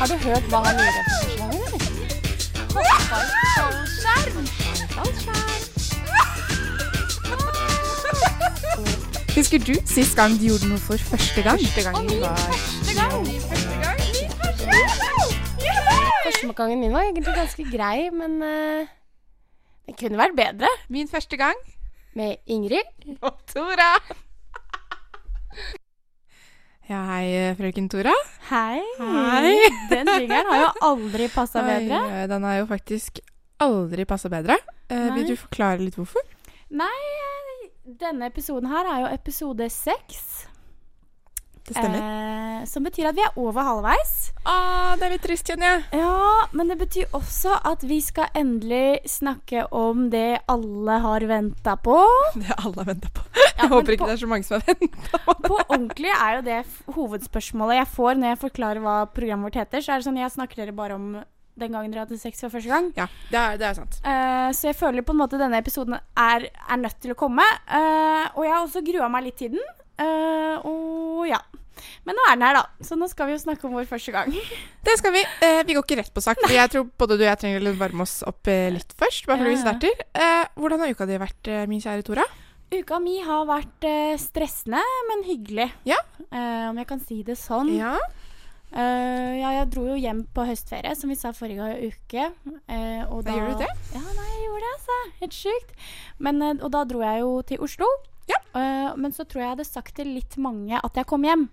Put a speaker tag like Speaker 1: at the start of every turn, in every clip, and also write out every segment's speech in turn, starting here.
Speaker 1: Har du hørt hva han gjorde for sesongen, Husker du sist gang du gjorde noe for første gang? Første gangen Første gangen min var egentlig ganske grei, men eh, den kunne vært bedre.
Speaker 2: Min første gang
Speaker 1: Med Ingrid.
Speaker 2: og Tora. Ja, hei, eh, frøken Tora.
Speaker 1: Hei.
Speaker 2: Hei.
Speaker 1: Den jingeren har jo aldri passa bedre.
Speaker 2: Oi, eh, den har jo faktisk aldri passa bedre. Eh, vil
Speaker 1: Nei.
Speaker 2: du forklare litt hvorfor?
Speaker 1: Nei, eh, denne episoden her er jo episode seks.
Speaker 2: Det
Speaker 1: Eh, som betyr at vi er over halvveis.
Speaker 2: Ah, det er litt trist, kjenner jeg.
Speaker 1: Ja, men det betyr også at vi skal endelig snakke om det alle har venta på.
Speaker 2: Det har alle venta på.
Speaker 1: Ja,
Speaker 2: jeg
Speaker 1: men
Speaker 2: håper ikke
Speaker 1: på-
Speaker 2: det er så mange som har venta på det.
Speaker 1: På ordentlig er jo det f- hovedspørsmålet jeg får når jeg forklarer hva programmet vårt heter. Så er det sånn, jeg snakker dere bare om den gangen dere hadde sex for første gang.
Speaker 2: Ja, det er, det er sant.
Speaker 1: Eh, så jeg føler på en måte denne episoden er, er nødt til å komme. Eh, og jeg har også grua meg litt til den. Eh, og ja. Men nå er den her, da. Så nå skal vi jo snakke om vår første gang.
Speaker 2: Det skal vi. Eh, vi går ikke rett på sak. for Jeg tror både du og jeg trenger å varme oss opp eh, litt først. bare før
Speaker 1: Ja,
Speaker 2: vi
Speaker 1: ja.
Speaker 2: starter. Eh, hvordan har uka di vært, eh, min kjære Tora?
Speaker 1: Uka mi har vært eh, stressende, men hyggelig.
Speaker 2: Ja.
Speaker 1: Eh, om jeg kan si det sånn.
Speaker 2: Ja.
Speaker 1: Eh, ja, jeg dro jo hjem på høstferie, som vi sa forrige uke. eh, og
Speaker 2: Da gjorde du det?
Speaker 1: Ja, nei, jeg gjorde det, altså. Helt sjukt. Men, eh, og da dro jeg jo til Oslo.
Speaker 2: Ja.
Speaker 1: Eh, men så tror jeg jeg hadde sagt til litt mange at jeg kom hjem.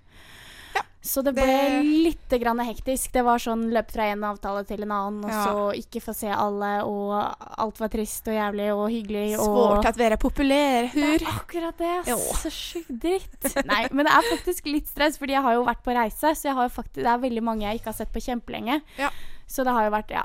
Speaker 2: Ja,
Speaker 1: Så det
Speaker 2: det-
Speaker 1: ble litt grann hektisk. Det var sånn løp fra en avtale til en annen, og
Speaker 2: Ja.
Speaker 1: så ikke få se alle, og alt var trist og jævlig og hyggelig. og...
Speaker 2: Svårt at dere er populære,
Speaker 1: Det
Speaker 2: hur.
Speaker 1: er akkurat det.
Speaker 2: Jo.
Speaker 1: ass. Så sjukt dritt. Nei, men det er faktisk litt stress, fordi jeg har jo vært på reise, så jeg har jo faktisk, det er veldig mange jeg ikke har sett på kjempelenge.
Speaker 2: Ja.
Speaker 1: Så det har jo vært Ja.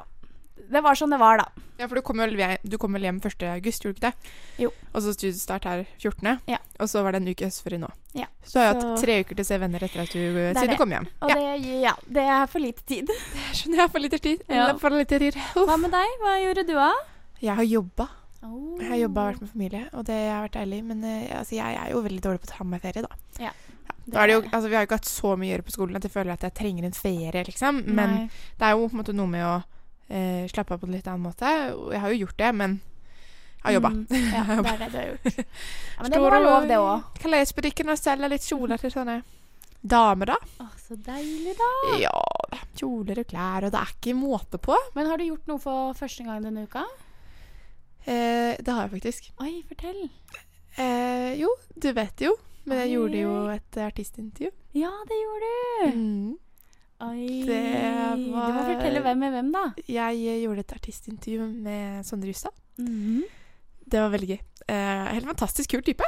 Speaker 1: Det var sånn det var, da.
Speaker 2: Ja, for du kom, vel, du kom vel hjem 1. august, gjorde du ikke det?
Speaker 1: Jo.
Speaker 2: Og så studiestart her 14.
Speaker 1: Ja.
Speaker 2: Og så var det en uke østfri nå.
Speaker 1: Ja,
Speaker 2: Så har jeg hatt
Speaker 1: så-
Speaker 2: tre uker til å se venner etter at du, siden
Speaker 1: er det.
Speaker 2: du kom hjem.
Speaker 1: Og
Speaker 2: Ja,
Speaker 1: det Ja, det er for lite tid.
Speaker 2: det skjønner jeg. For litt tid.
Speaker 1: Ja.
Speaker 2: Det er For litt tid. Uff.
Speaker 1: Hva med deg? Hva gjorde du, da?
Speaker 2: Jeg har jobba.
Speaker 1: Oh.
Speaker 2: Jeg har jobba og vært med familie, og det har vært deilig. Men eh, altså, jeg er jo veldig dårlig på å ta meg ferie, da.
Speaker 1: Ja.
Speaker 2: Nå er det jo, altså, vi har jo ikke hatt så mye å gjøre på skolen at jeg føler at jeg trenger en ferie, liksom. Men
Speaker 1: Nei.
Speaker 2: det er jo på en måte noe med å eh, slappe av på en litt annen måte. Og Jeg har jo gjort det, men jeg har jobba.
Speaker 1: Mm, ja, det er det du har gjort. Ja, men det må
Speaker 2: Står
Speaker 1: være
Speaker 2: og-
Speaker 1: lov, det òg.
Speaker 2: Kan lese på dykken og selge litt kjoler til sånne damer, da.
Speaker 1: Så deilig, da.
Speaker 2: Ja, kjoler og klær, og det er ikke måte på.
Speaker 1: Men har du gjort noe for første gang denne uka?
Speaker 2: Eh, det har jeg faktisk.
Speaker 1: Oi, fortell.
Speaker 2: Eh, jo, du vet jo. Men jeg
Speaker 1: Oi,
Speaker 2: gjorde jo
Speaker 1: oi.
Speaker 2: et artistintervju.
Speaker 1: Ja, det gjorde du.
Speaker 2: Mm.
Speaker 1: Oi.
Speaker 2: Det
Speaker 1: Du må
Speaker 2: var-
Speaker 1: fortelle hvem er hvem, da.
Speaker 2: Jeg eh, gjorde et artistintervju med Sondre Justad.
Speaker 1: Mhm.
Speaker 2: Det var veldig gøy. Eh, helt fantastisk kul type.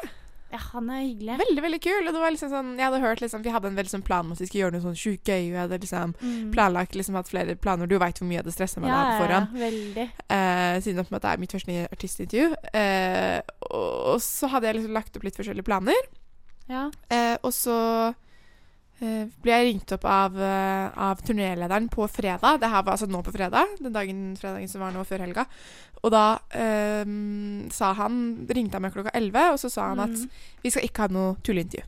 Speaker 1: Ja, han er hyggelig.
Speaker 2: Veldig, veldig kul. Og det var liksom sånn, jeg hadde hørt liksom, Vi hadde en veldig sånn plan om at vi skulle gjøre noe sånn sjukt gøy. Og jeg hadde liksom
Speaker 1: Mm.
Speaker 2: planlagt liksom hatt flere planer. Du veit hvor mye jeg hadde stressa meg
Speaker 1: Ja,
Speaker 2: der på forhånd.
Speaker 1: Ja, veldig.
Speaker 2: Eh, siden det på en måte er mitt første artistintervju. Eh, og, og så hadde jeg liksom lagt opp litt forskjellige planer.
Speaker 1: Ja.
Speaker 2: Eh, og så eh, ble jeg ringt opp av, eh, av turnélederen på fredag. Det her var altså nå på fredag, den dagen fredagen som var nå før helga. Og da eh, sa han Ringte han meg klokka 11, og så sa han at
Speaker 1: Mm.
Speaker 2: vi skal ikke ha noe tulleintervju.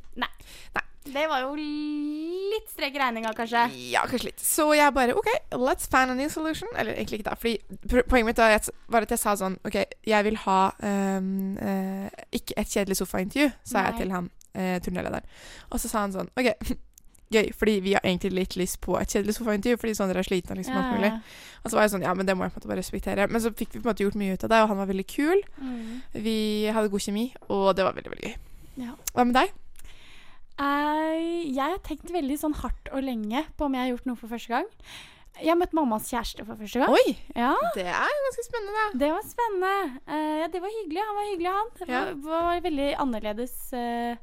Speaker 1: Det var jo litt strek regninga, kanskje.
Speaker 2: Ja, kanskje litt. Så jeg bare OK, let's find a new solution. Eller egentlig ikke da, fordi pro- poenget mitt var at- var at jeg sa sånn OK, jeg vil ha ehm, eh, ikke et kjedelig sofaintervju, sa jeg
Speaker 1: Nei.
Speaker 2: til han eh, turnélederen. Og så sa han sånn OK, gøy, fordi vi har egentlig litt lyst på et kjedelig sofaintervju, fordi sånn dere er slitne og liksom alt mulig.
Speaker 1: Ja.
Speaker 2: Og så var jeg sånn Ja, men det må jeg på en måte bare respektere. Men så fikk vi på en måte gjort mye ut av det, og han var veldig kul.
Speaker 1: Mm.
Speaker 2: Vi hadde god kjemi, og det var veldig, veldig gøy.
Speaker 1: Ja.
Speaker 2: Hva med deg?
Speaker 1: Eh, jeg har tenkt veldig sånn hardt og lenge på om jeg har gjort noe for første gang. Jeg møtte mammas kjæreste for første gang.
Speaker 2: Oi!
Speaker 1: Ja,
Speaker 2: Det er ganske spennende, da.
Speaker 1: Det var spennende. Eh, ja, det var hyggelig. Han var hyggelig, han. Det
Speaker 2: Ja.
Speaker 1: var, var veldig annerledes eh,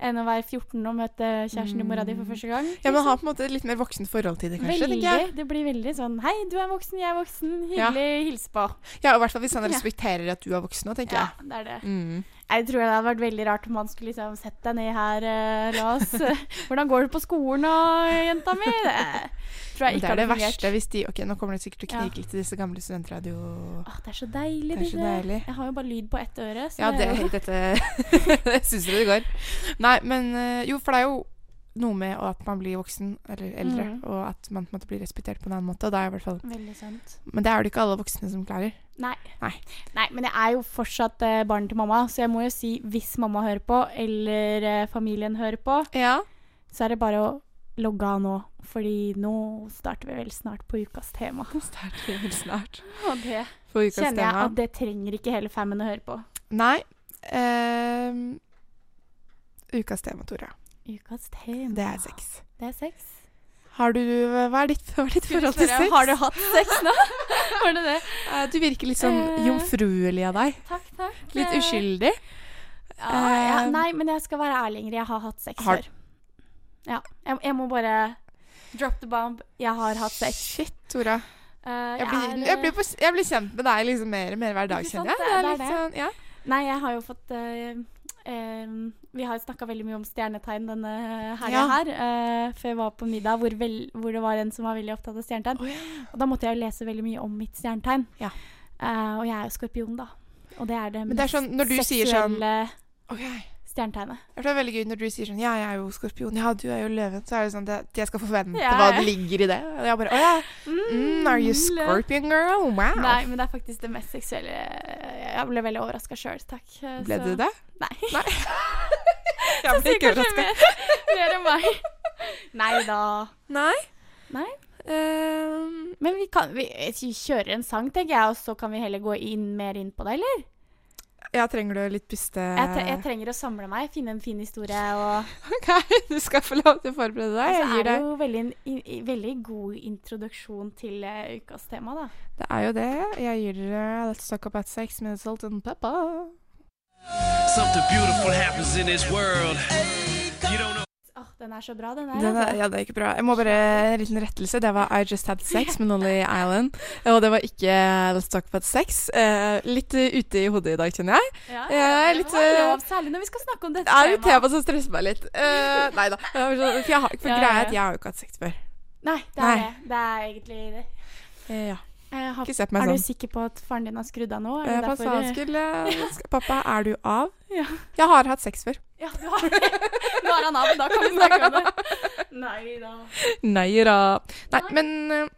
Speaker 1: enn å være 14 og møte kjæresten til mora di for første gang.
Speaker 2: Ja, men ha på en måte et litt mer voksent forhold til det, kanskje.
Speaker 1: Liksom. Veldig.
Speaker 2: tenker jeg.
Speaker 1: Det blir veldig sånn Hei, du er voksen, jeg er voksen.
Speaker 2: Ja.
Speaker 1: Hyggelig hilse på.
Speaker 2: Ja, og i hvert fall hvis han
Speaker 1: Ja.
Speaker 2: respekterer at du er voksen nå, tenker
Speaker 1: Ja, det er det.
Speaker 2: jeg. Mm.
Speaker 1: Jeg tror det hadde vært veldig rart om han skulle liksom sett deg ned her, eh, la oss Hvordan går det på skolen og jenta mi? Det tror jeg
Speaker 2: Men det er
Speaker 1: ikke
Speaker 2: det
Speaker 1: hadde fungert.
Speaker 2: verste hvis de Ok, nå kommer det sikkert til å
Speaker 1: Ja.
Speaker 2: knike litt i disse gamle studentradio...
Speaker 1: Åh, det er så
Speaker 2: Det
Speaker 1: deilig,
Speaker 2: er så deilig.
Speaker 1: Jeg har jo bare lyd på ett øre. Så
Speaker 2: Ja, det,
Speaker 1: er jo-
Speaker 2: dette Syns dere det går? Nei, men eh, jo, for det er jo noe med at man blir voksen eller eldre,
Speaker 1: Mhm.
Speaker 2: og at man på en måte blir respektert på en annen måte. Og da er jeg i hvert fall
Speaker 1: Veldig sant.
Speaker 2: Men det er det ikke alle voksne som klarer.
Speaker 1: Nei.
Speaker 2: Nei.
Speaker 1: Nei, men jeg er jo fortsatt eh, barn til mamma, så jeg må jo si hvis mamma hører på, eller eh, familien hører på,
Speaker 2: Ja.
Speaker 1: så er det bare å logge av nå. Fordi nå starter vi vel snart på ukas tema.
Speaker 2: Starter vel snart.
Speaker 1: Og det
Speaker 2: For ukas
Speaker 1: kjenner jeg
Speaker 2: tema.
Speaker 1: at det trenger ikke hele fammen å høre på.
Speaker 2: Nei. ehm, ukas tema, Tora.
Speaker 1: Ukas tema.
Speaker 2: Det er sex.
Speaker 1: Det er sex.
Speaker 2: Har du Hva er ditt, hva er ditt forhold til sex?
Speaker 1: Har du hatt sex nå? Var det det?
Speaker 2: Eh, Du virker litt sånn
Speaker 1: Eh.
Speaker 2: jomfruelig av deg.
Speaker 1: Takk, takk. Eh,
Speaker 2: Litt uskyldig.
Speaker 1: Ja, ja, nei, men jeg skal være ærlig, Ingrid. Jeg har hatt sex
Speaker 2: Har-
Speaker 1: før. Ja. Jeg, jeg må bare drop the bomb. Jeg har hatt sex.
Speaker 2: Shit, Tora.
Speaker 1: Eh,
Speaker 2: Jeg blir,
Speaker 1: er,
Speaker 2: jeg blir, på, jeg blir kjent med deg liksom mer og mer hver dag,
Speaker 1: Ikke sant?
Speaker 2: kjenner jeg.
Speaker 1: Det
Speaker 2: Det
Speaker 1: er-
Speaker 2: er litt
Speaker 1: det er
Speaker 2: sånn, ja.
Speaker 1: Nei, jeg har jo fått eh, eh, Vi har snakka veldig mye om stjernetegn denne helga
Speaker 2: Ja.
Speaker 1: her. eh, før jeg var på middag, hvor, vel, hvor det var en som var veldig opptatt av stjernetegn.
Speaker 2: Å, ja.
Speaker 1: Og da måtte jeg jo lese veldig mye om mitt stjernetegn.
Speaker 2: Ja.
Speaker 1: Eh, og jeg er jo skorpion, da. Og det er det
Speaker 2: Men det er sånn, når du sier sånn
Speaker 1: seksuelle
Speaker 2: Ok.
Speaker 1: stjernetegnet.
Speaker 2: Jeg tror det er veldig gøy når du sier sånn Ja, jeg er jo skorpion. Ja, du er jo løven. Så er det sånn at jeg skal forvente
Speaker 1: Ja,
Speaker 2: hva
Speaker 1: ja.
Speaker 2: det ligger i det. Og jeg bare Å ja. Mm, are you scorpion girl? Wow.
Speaker 1: Nei, men det er faktisk det mest seksuelle Jeg ble veldig overraska sjøl, takk. Eh,
Speaker 2: Ble
Speaker 1: så-
Speaker 2: du det?
Speaker 1: Nei.
Speaker 2: Jeg ble ikke
Speaker 1: Sier kanskje
Speaker 2: overraska.
Speaker 1: Mer, mer enn meg. Nei da.
Speaker 2: Nei.
Speaker 1: Nei.
Speaker 2: Ehm,
Speaker 1: Men vi, kan, vi, eh, vi kjører en sang, tenker jeg, og så kan vi heller gå inn, mer inn på det, eller?
Speaker 2: ja, trenger du litt puste...
Speaker 1: Jeg, tre
Speaker 2: Eh.
Speaker 1: jeg trenger å samle meg, finne en fin historie. Og,
Speaker 2: OK, du skal få lov til å forberede
Speaker 1: og
Speaker 2: deg.
Speaker 1: så
Speaker 2: Jeg
Speaker 1: Altså, er
Speaker 2: gir
Speaker 1: det
Speaker 2: deg.
Speaker 1: jo veldig, en- i- i- veldig god introduksjon til eh, ukas tema, da.
Speaker 2: Det er jo det. Jeg gir dere Let's talk about sex med salt and pepper.
Speaker 3: Something beautiful happens in this world. You don't know.
Speaker 1: Åh, den er så bra, den her.
Speaker 2: Den er,
Speaker 1: altså.
Speaker 2: ja, det er ikke bra. Jeg må bare En liten rettelse. Det var I Just Had Sex med Nolly Island. Og det var ikke eh, Let's Talk About Sex. Eh, litt eh, ute i hodet i dag, kjenner jeg.
Speaker 1: Ja,
Speaker 2: jeg er
Speaker 1: det
Speaker 2: litt,
Speaker 1: var
Speaker 2: eh,
Speaker 1: lov, Særlig når vi skal snakke om dette
Speaker 2: Det er jo et
Speaker 1: temaet.
Speaker 2: tema som stresser meg litt. Eh, nei da. Jeg var sånn- For, jeg har, for
Speaker 1: Ja, ja,
Speaker 2: greia er
Speaker 1: ja.
Speaker 2: at jeg har jo ikke hatt sex før.
Speaker 1: Nei, det er
Speaker 2: Nei.
Speaker 1: det. Det er egentlig det.
Speaker 2: Eh, ja.
Speaker 1: Jeg har,
Speaker 2: Ikke se på meg
Speaker 1: er du
Speaker 2: sånn.
Speaker 1: sikker på at faren din har skrudd av nå?
Speaker 2: Eh,
Speaker 1: Er det
Speaker 2: pappa,
Speaker 1: derfor-
Speaker 2: skulle, eh, skal- pappa, er du av?
Speaker 1: Ja.
Speaker 2: Jeg har hatt sex før.
Speaker 1: Ja, du har Nå er han av, men da kan vi snakke om det. Nei da.
Speaker 2: Nei da. Nei,
Speaker 1: Nei.
Speaker 2: men eh,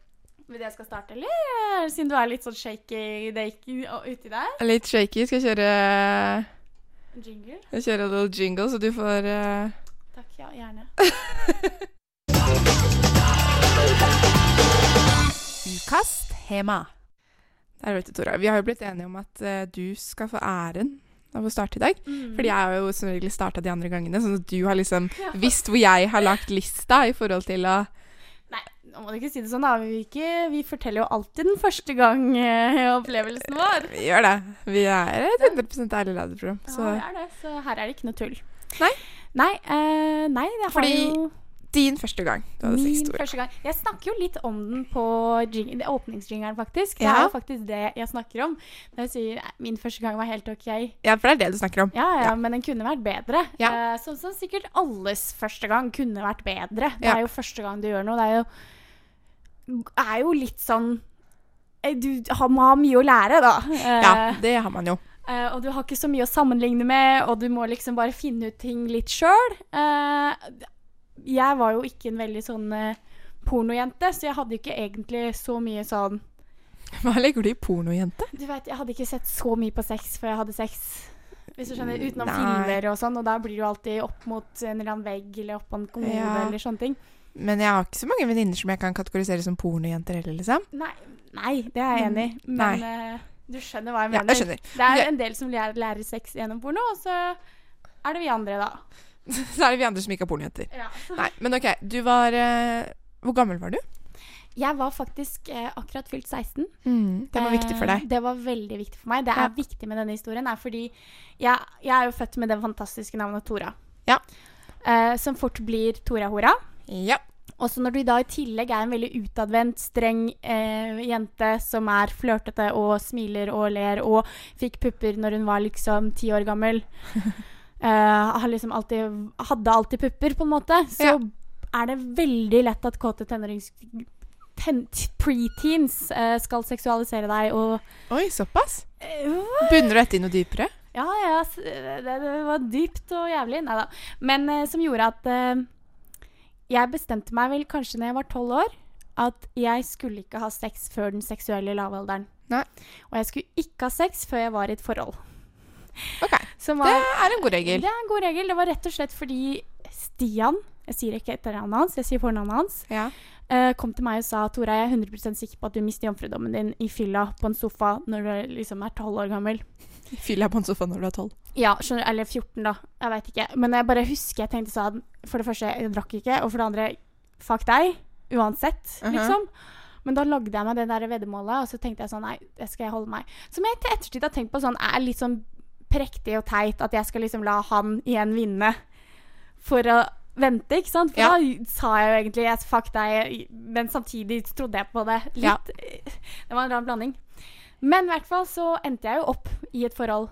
Speaker 1: Vil jeg skal starte, eller? Siden du er litt sånn shaky det gikk u- uti der.
Speaker 2: litt shaky. Skal jeg kjøre
Speaker 1: Jingle.
Speaker 2: jeg kjører en little jingle, så du får eh,
Speaker 1: Takk, ja. Gjerne.
Speaker 2: Ukas tema. Der vet du, Tora. Vi har jo blitt enige om at eh, du skal få æren av å starte i dag.
Speaker 1: Mm.
Speaker 2: Fordi jeg har jo som regel starta de andre gangene, sånn at du har liksom
Speaker 1: Ja.
Speaker 2: visst hvor jeg har lagt lista i forhold til å
Speaker 1: Nei, nå må du ikke si det sånn, da. Vi, vil ikke, vi forteller jo alltid den første gang eh, opplevelsen vår.
Speaker 2: Vi gjør det. Vi er et 100 ærlig radioprogram.
Speaker 1: Ja,
Speaker 2: Så
Speaker 1: vi er det, så her er det ikke noe tull.
Speaker 2: Nei.
Speaker 1: Nei, eh, nei jeg har
Speaker 2: Fordi
Speaker 1: jo
Speaker 2: din første gang du hadde sex,
Speaker 1: min
Speaker 2: Tora.
Speaker 1: første gang Jeg snakker jo litt om den på jing- det er åpningsjingeren, faktisk. Det
Speaker 2: Ja.
Speaker 1: er jo faktisk det jeg snakker om. Når jeg sier nei, min første gang var helt OK.
Speaker 2: Ja, for det er det du snakker om.
Speaker 1: Ja, ja, men den kunne vært bedre.
Speaker 2: Ja.
Speaker 1: Eh, sånn som sikkert alles første gang kunne vært bedre. Det
Speaker 2: Ja.
Speaker 1: er jo første gang du gjør noe. Det er jo, er jo litt sånn eh, Du har, må ha mye å lære, da. Eh,
Speaker 2: Ja, det har man jo.
Speaker 1: eh, og du har ikke så mye å sammenligne med, og du må liksom bare finne ut ting litt sjøl. Eh, jeg var jo ikke en veldig sånn eh, pornojente, så jeg hadde jo ikke egentlig så mye sånn
Speaker 2: Hva legger du i pornojente?
Speaker 1: Du vet, jeg hadde ikke sett så mye på sex før jeg hadde sex. Hvis du skjønner, Utenom
Speaker 2: Nei.
Speaker 1: filmer og sånn, og da blir du alltid opp mot en eller annen vegg eller opp på en kommode
Speaker 2: Ja.
Speaker 1: eller sånne ting.
Speaker 2: Men jeg har ikke så mange venninner som jeg kan kategorisere som pornojenter heller, liksom.
Speaker 1: Nei, nei det er jeg enig i, men eh, du skjønner hva jeg
Speaker 2: Mm. Ja,
Speaker 1: mener.
Speaker 2: jeg skjønner.
Speaker 1: Det er
Speaker 2: Jeg-
Speaker 1: en del som lærer, lærer sex gjennom porno, og så er det vi andre, da.
Speaker 2: Så er det vi andre som ikke er pornojenter.
Speaker 1: Ja.
Speaker 2: Nei, men ok, du var eh, Hvor gammel var du?
Speaker 1: Jeg var faktisk eh, akkurat fylt 16.
Speaker 2: det var viktig for
Speaker 1: Eh,
Speaker 2: deg.
Speaker 1: Det var veldig viktig for meg. Det er
Speaker 2: Ja.
Speaker 1: viktig med denne historien er fordi jeg, jeg er jo født med det fantastiske navnet Tora.
Speaker 2: Ja.
Speaker 1: Eh, som fort blir Tora Hora.
Speaker 2: Ja.
Speaker 1: Også når du da i tillegg er en veldig utadvendt, streng eh, jente som er flørtete og smiler og ler og fikk pupper når hun var liksom ti år gammel. eh, har liksom alltid, hadde alltid pupper, på en måte. Så
Speaker 2: Ja.
Speaker 1: er det veldig lett at kåte tenårings... Ten, preteens eh, skal seksualisere deg og
Speaker 2: Oi, såpass?
Speaker 1: eh,
Speaker 2: Bunner du dette i noe dypere?
Speaker 1: ja, ja, s- det, det var dypt og jævlig. Nei da. Men eh, som gjorde at eh, Jeg bestemte meg vel kanskje når jeg var tolv år, at jeg skulle ikke ha sex før den seksuelle lavalderen.
Speaker 2: Nei.
Speaker 1: Og jeg skulle ikke ha sex før jeg var i et forhold.
Speaker 2: Ok,
Speaker 1: Som
Speaker 2: Det
Speaker 1: var
Speaker 2: er en god regel.
Speaker 1: Det er en god regel. Det var rett og slett fordi Stian Jeg sier ikke etternavnet hans, jeg sier fornavnet hans.
Speaker 2: Ja.
Speaker 1: eh, kom til meg og sa Tora, jeg er 100 sikker på at du mister jomfrudommen din i fylla på en sofa når du liksom er 12 år gammel.
Speaker 2: Fyll deg på en sofa når du er tolv.
Speaker 1: Ja, skjønner, eller 14, da. Jeg veit ikke. Men jeg bare husker jeg tenkte sånn For det første, jeg drakk ikke. Og for det andre, fuck deg. Uansett,
Speaker 2: Mhm.
Speaker 1: liksom. Men da lagde jeg meg det der veddemålet, og så tenkte jeg sånn Nei, det skal jeg holde meg. Som jeg til ettertid har tenkt på sånn er litt sånn prektig og teit at jeg skal liksom la han igjen vinne for å vente, ikke sant? For
Speaker 2: Ja.
Speaker 1: da sa jeg jo egentlig yes, fuck deg, men samtidig trodde jeg på det litt.
Speaker 2: Ja.
Speaker 1: Det var en rar blanding. Men i hvert fall så endte jeg jo opp i et forhold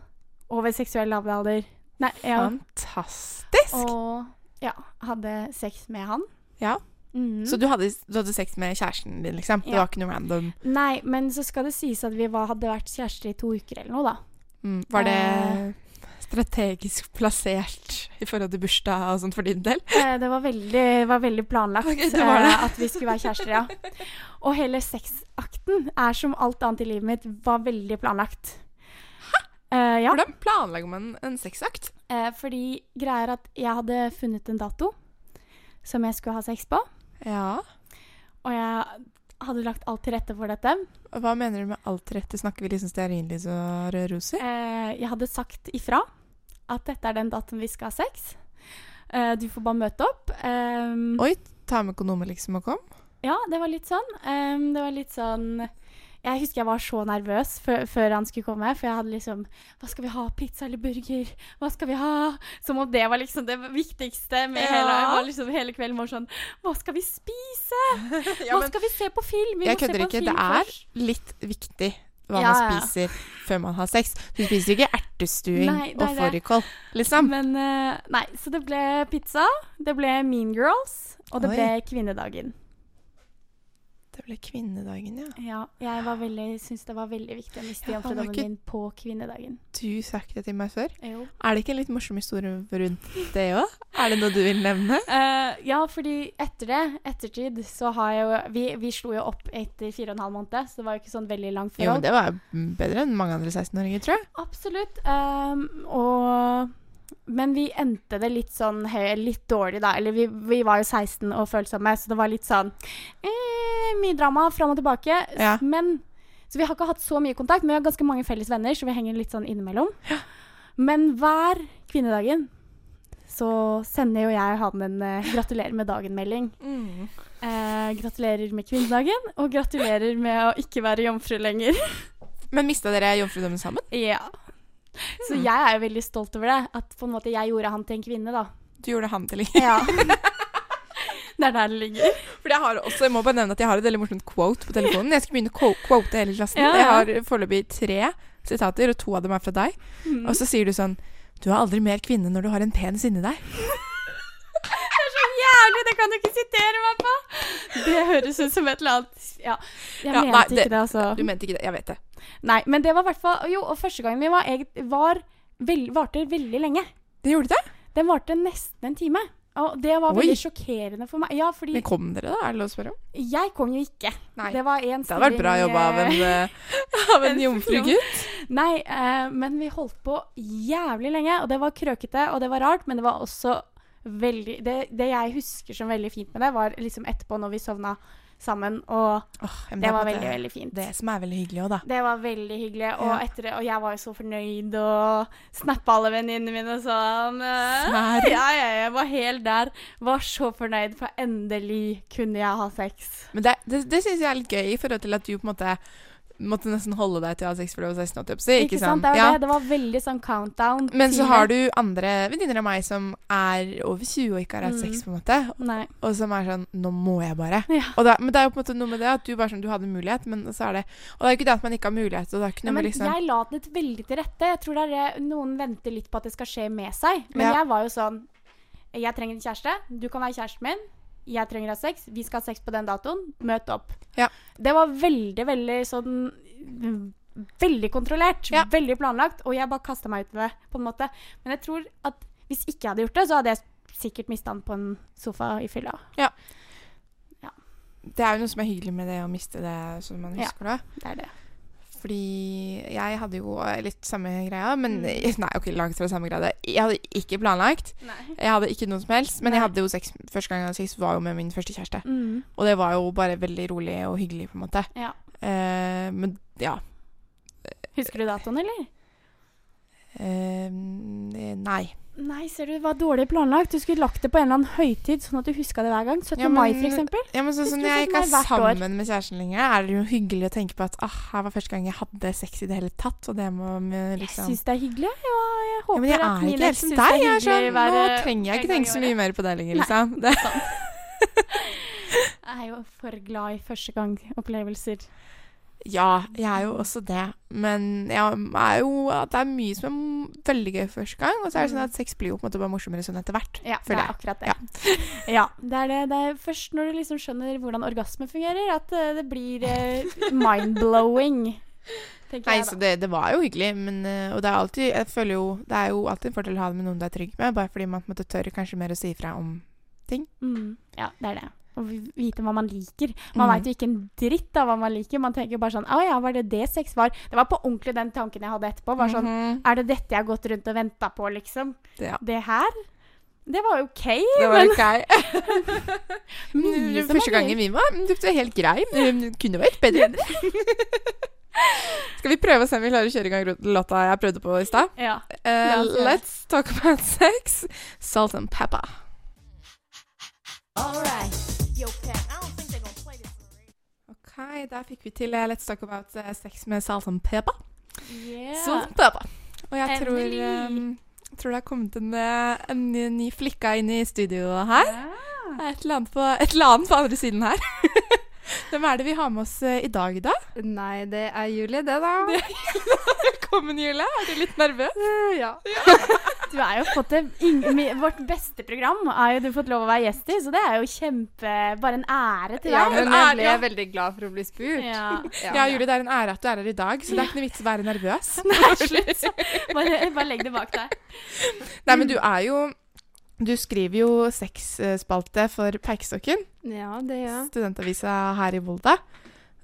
Speaker 1: over seksuell lavalder. Nei, ja.
Speaker 2: Fantastisk!
Speaker 1: Og ja, hadde sex med han.
Speaker 2: Ja.
Speaker 1: Mhm.
Speaker 2: Så du hadde, du hadde sex med kjæresten din, liksom? Det
Speaker 1: Ja.
Speaker 2: var ikke noe random?
Speaker 1: Nei, men så skal det sies at vi var, hadde vært kjærester i to uker eller noe, da.
Speaker 2: Mm. Var det
Speaker 1: Eh.
Speaker 2: strategisk plassert i forhold til bursdag og sånt for din del?
Speaker 1: Eh, Det var veldig, var veldig planlagt
Speaker 2: Ok, det var det.
Speaker 1: eh, at vi skulle være kjærester, ja. Og hele sexakten er som alt annet i livet mitt, var veldig planlagt. Eh, ja.
Speaker 2: Hvordan planlegger man en sexakt?
Speaker 1: Eh, fordi greia er at jeg hadde funnet en dato som jeg skulle ha sex på.
Speaker 2: Ja.
Speaker 1: Og jeg hadde lagt alt til rette for dette.
Speaker 2: Og Hva mener du med alt rette? Snakker vi liksom stearinlys og røde roser?
Speaker 1: Eh, jeg hadde sagt ifra at dette er den datoen vi skal ha sex. Eh, du får bare møte opp. Eh,
Speaker 2: Oi, ta med kondomer liksom og kom?
Speaker 1: ja, det var litt sånn. Eh, det var litt sånn Jeg husker jeg var så nervøs før, før han skulle komme. For jeg hadde liksom Hva skal vi ha? Pizza eller burger? Hva skal vi ha? Som om det var liksom det viktigste med
Speaker 2: Ja.
Speaker 1: hele, var liksom hele kvelden. Var sånn Hva skal vi spise? Hva skal vi se på film? Vi
Speaker 2: jeg
Speaker 1: må se
Speaker 2: kødder
Speaker 1: på en
Speaker 2: ikke,
Speaker 1: film
Speaker 2: det er
Speaker 1: først.
Speaker 2: litt viktig hva
Speaker 1: Ja,
Speaker 2: man
Speaker 1: ja.
Speaker 2: spiser før man har sex. Du spiser ikke ertestuing
Speaker 1: Nei,
Speaker 2: og
Speaker 1: det er det.
Speaker 2: fårikål, liksom.
Speaker 1: Men eh, Nei, så det ble pizza, det ble Mean Girls, og det
Speaker 2: Oi.
Speaker 1: ble kvinnedagen.
Speaker 2: Det ble kvinnedagen, ja.
Speaker 1: Ja, jeg var veldig, syns det var veldig viktig å miste
Speaker 2: Ja, han var
Speaker 1: jomfrudommen
Speaker 2: ikke-
Speaker 1: min på kvinnedagen.
Speaker 2: Du sa ikke det til meg før.
Speaker 1: Jo.
Speaker 2: Er det ikke en litt morsom historie rundt det òg? Er det noe du vil nevne?
Speaker 1: Eh, ja, fordi etter det, ettertid, så har jeg jo Vi, vi slo jo opp etter fire og en halv måned, så det var jo ikke sånn veldig langt
Speaker 2: Jo, men
Speaker 1: forhold.
Speaker 2: det var jo bedre enn mange andre 16-åringer, tror jeg.
Speaker 1: Absolutt. ehm, og Men vi endte det litt sånn høy, litt dårlig, da. Eller vi, vi var jo 16 og følsomme, så det var litt sånn eh, mye drama fram og tilbake.
Speaker 2: Ja.
Speaker 1: Men Så vi har ikke hatt så mye kontakt, men vi har ganske mange felles venner, så vi henger litt sånn innimellom. Men hver kvinnedagen så sender jo jeg han en eh, gratulerer med dagen-melding. Eh, gratulerer med kvinnedagen, og gratulerer med å ikke være jomfru lenger.
Speaker 2: Men mista dere jomfrudommen sammen?
Speaker 1: Ja. Så
Speaker 2: Hmm.
Speaker 1: jeg er jo veldig stolt over det. At på en måte jeg gjorde han til en kvinne, da.
Speaker 2: Du gjorde han til ikke.
Speaker 1: Ja. det er der det ligger.
Speaker 2: For jeg har også, jeg må bare nevne at jeg har et veldig morsomt quote på telefonen. Jeg skal begynne å quo- quote hele klassen.
Speaker 1: Ja,
Speaker 2: Jeg
Speaker 1: ja.
Speaker 2: har foreløpig tre sitater, og to av dem er fra deg. Og så sier du sånn Du er aldri mer kvinne når du har en penis inni deg.
Speaker 1: Det er så jævlig! Det kan du ikke sitere meg på! Det høres ut som et eller annet Ja. Jeg
Speaker 2: Ja,
Speaker 1: mente
Speaker 2: nei, det-
Speaker 1: ikke det, altså.
Speaker 2: Du mente ikke det. Jeg vet det.
Speaker 1: Nei, men det var i hvert fall Jo, og første gangen vi var, egen- var vel, varte veldig lenge.
Speaker 2: Det gjorde det?
Speaker 1: Den varte nesten en time. Og det var
Speaker 2: Oi.
Speaker 1: veldig sjokkerende for meg. Ja, fordi
Speaker 2: Men kom dere, da? Er det lov å spørre om?
Speaker 1: jeg kom jo ikke.
Speaker 2: Nei.
Speaker 1: Det var en stilling
Speaker 2: Det hadde vært bra jobba av en, eh, av en
Speaker 1: en
Speaker 2: jomfrugutt.
Speaker 1: Nei, eh, men vi holdt på jævlig lenge, og det var krøkete, og det var rart, men det var også veldig Det, det jeg husker som veldig fint med det, var liksom etterpå når vi sovna sammen, og
Speaker 2: Åh, ja, men
Speaker 1: det
Speaker 2: er
Speaker 1: var
Speaker 2: på en måte
Speaker 1: veldig, veldig fint.
Speaker 2: Det som er veldig hyggelig òg, da.
Speaker 1: Det var veldig hyggelig, og,
Speaker 2: Ja.
Speaker 1: etter det, og jeg var jo så fornøyd og snappa alle venninnene mine og sånn. eh,
Speaker 2: Serr?
Speaker 1: Ja, ja, jeg var helt der. Var så fornøyd, for endelig kunne jeg ha sex.
Speaker 2: Men det, det, det syns jeg er litt gøy, i forhold til at du på en måte måtte nesten holde deg til å ha sex før du var 16, holdt jeg på å si. Ikke sant?
Speaker 1: Det var,
Speaker 2: Ja.
Speaker 1: det. det var veldig sånn countdown.
Speaker 2: Men så har du andre venninner av meg som er over 20 og ikke har hatt sex, på en måte.
Speaker 1: Nei.
Speaker 2: Og som er sånn Nå må jeg bare.
Speaker 1: Mm. Ja.
Speaker 2: Og da, men det er jo på en måte noe med det at du bare sånn, du hadde mulighet, men så er det Og det er jo ikke det at man ikke har mulighet, og det er ikke
Speaker 1: Ja,
Speaker 2: noe med
Speaker 1: men
Speaker 2: liksom
Speaker 1: Jeg la det veldig til rette. Jeg tror det er det noen venter litt på at det skal skje med seg. Men
Speaker 2: Ja.
Speaker 1: jeg var jo sånn Jeg trenger en kjæreste. Du kan være kjæresten min. Jeg trenger å ha sex. Vi skal ha sex på den datoen. Møt opp.
Speaker 2: Ja.
Speaker 1: Det var veldig, veldig sånn mm, Veldig kontrollert.
Speaker 2: Ja.
Speaker 1: Veldig planlagt. Og jeg bare kasta meg ut i det, på en måte. Men jeg tror at hvis ikke jeg hadde gjort det, så hadde jeg sikkert miste han på en sofa i fylla.
Speaker 2: Det er jo noe som er hyggelig med det å miste det som man
Speaker 1: Ja.
Speaker 2: husker det.
Speaker 1: Det er det.
Speaker 2: Fordi jeg hadde jo eh, litt samme greia, men
Speaker 1: Mm.
Speaker 2: Nei, ok, langt fra samme greia. Jeg hadde ikke planlagt. Jeg hadde ikke noe som helst, men jeg
Speaker 1: Nei.
Speaker 2: hadde jo sex første gang jeg hadde sex, var jo med min første kjæreste.
Speaker 1: Mm.
Speaker 2: Og det var jo bare veldig rolig og hyggelig, på en måte.
Speaker 1: Ja.
Speaker 2: Eh, men ja
Speaker 1: Husker du datoen, eller?
Speaker 2: eh, Nei.
Speaker 1: Nei, ser du, det var dårlig planlagt. Du skulle lagt det på en eller annen høytid, sånn at du huska det hver gang. 17.
Speaker 2: Ja, men-
Speaker 1: mai, for eksempel.
Speaker 2: Ja, men
Speaker 1: Vi
Speaker 2: sånn som
Speaker 1: skulle
Speaker 2: jeg
Speaker 1: sett
Speaker 2: ikke
Speaker 1: meg
Speaker 2: er
Speaker 1: hvert år.
Speaker 2: sammen med kjæresten lenger, er det jo hyggelig å tenke på at ah, her var første gang jeg hadde sex i det hele tatt, og det må vi
Speaker 1: Jeg
Speaker 2: liksom
Speaker 1: syns det er hyggelig. jeg. Ja, jeg
Speaker 2: ja,
Speaker 1: håper
Speaker 2: men jeg
Speaker 1: at
Speaker 2: er
Speaker 1: min
Speaker 2: ikke helt
Speaker 1: eks
Speaker 2: som deg.
Speaker 1: syns det er
Speaker 2: Jeg er sånn,
Speaker 1: hyggelig
Speaker 2: nå
Speaker 1: hver-
Speaker 2: trenger jeg
Speaker 1: en
Speaker 2: ikke
Speaker 1: gang i
Speaker 2: tenke så mye
Speaker 1: året.
Speaker 2: mer på deg lenger,
Speaker 1: Nei.
Speaker 2: liksom. Det.
Speaker 1: Jeg er jo for glad i første gang-opplevelser.
Speaker 2: Ja, jeg er jo også det. Men jeg er jo at det er mye som er veldig gøy første gang, og så er det sånn at sex blir jo på en måte bare morsommere sånn etter hvert.
Speaker 1: Mm. Ja, det
Speaker 2: Føler
Speaker 1: er
Speaker 2: jeg.
Speaker 1: akkurat det. Ja. det er det. Det er først når du liksom skjønner hvordan orgasme fungerer, at eh, det blir eh, mind-blowing. Tenker
Speaker 2: Nei,
Speaker 1: jeg, da.
Speaker 2: så det, det var jo hyggelig, men eh, Og det er alltid Jeg føler jo Det er jo alltid en fordel å ha det med noen du er trygg med, bare fordi man på en måte tør kanskje mer å si ifra om
Speaker 1: Mm, ja, det er det. Å vi- vite hva man liker.
Speaker 2: Mm.
Speaker 1: Man veit jo ikke en dritt av hva man liker. Man tenker jo bare sånn Å ja, var det det sex var? Det var på ordentlig den tanken jeg hadde etterpå. Var sånn
Speaker 2: Mhm.
Speaker 1: Er det dette jeg har gått rundt og venta på, liksom?
Speaker 2: Ja.
Speaker 1: Det her? Det var OK.
Speaker 2: Det var ok.
Speaker 1: Mye som
Speaker 2: Første
Speaker 1: er
Speaker 2: gangen vi var, mm, det var helt grei. men Det kunne vært bedre. Skal vi prøve å se om vi klarer å kjøre i gang ro- låta jeg prøvde på i stad?
Speaker 1: Ja.
Speaker 2: Eh,
Speaker 1: La oss gjøre det.
Speaker 2: let's talk about sex. Salt and pepper. Ok, der fikk vi til eh, Let's talk about eh, sex med salt and pepper. Salt and pepper. Og jeg tror,
Speaker 1: Endelig.
Speaker 2: ehm, tror det har kommet en, eh, en ny- ny flikka inn i studioet her. Det er Et eller annet på, et eller annet på andre siden her. Hvem er det vi har med oss eh, i dag, da?
Speaker 4: Nei, det er Julie, det, da.
Speaker 2: Velkommen, Jule. Er du litt nervøs?
Speaker 4: Eh, Ja.
Speaker 1: Du har jo fått det ing- mi- Vårt beste program har jo du fått lov å være gjest i, så det er jo kjempe Bare en ære til
Speaker 4: ja,
Speaker 1: deg.
Speaker 4: men
Speaker 2: Men er-
Speaker 4: jeg ble
Speaker 2: ja.
Speaker 4: veldig glad for å bli spurt.
Speaker 1: Ja.
Speaker 4: Ja.
Speaker 2: Ja, Julie, det er en ære at du er her i dag, så det er ikke noe vits å være nervøs.
Speaker 1: Nei, slutt. så. Bare, bare legg det bak deg.
Speaker 2: Nei, men du er jo Du skriver jo sexspalte for Preikestokken,
Speaker 4: ja, det gjør jeg.
Speaker 2: studentavisa her i Volda.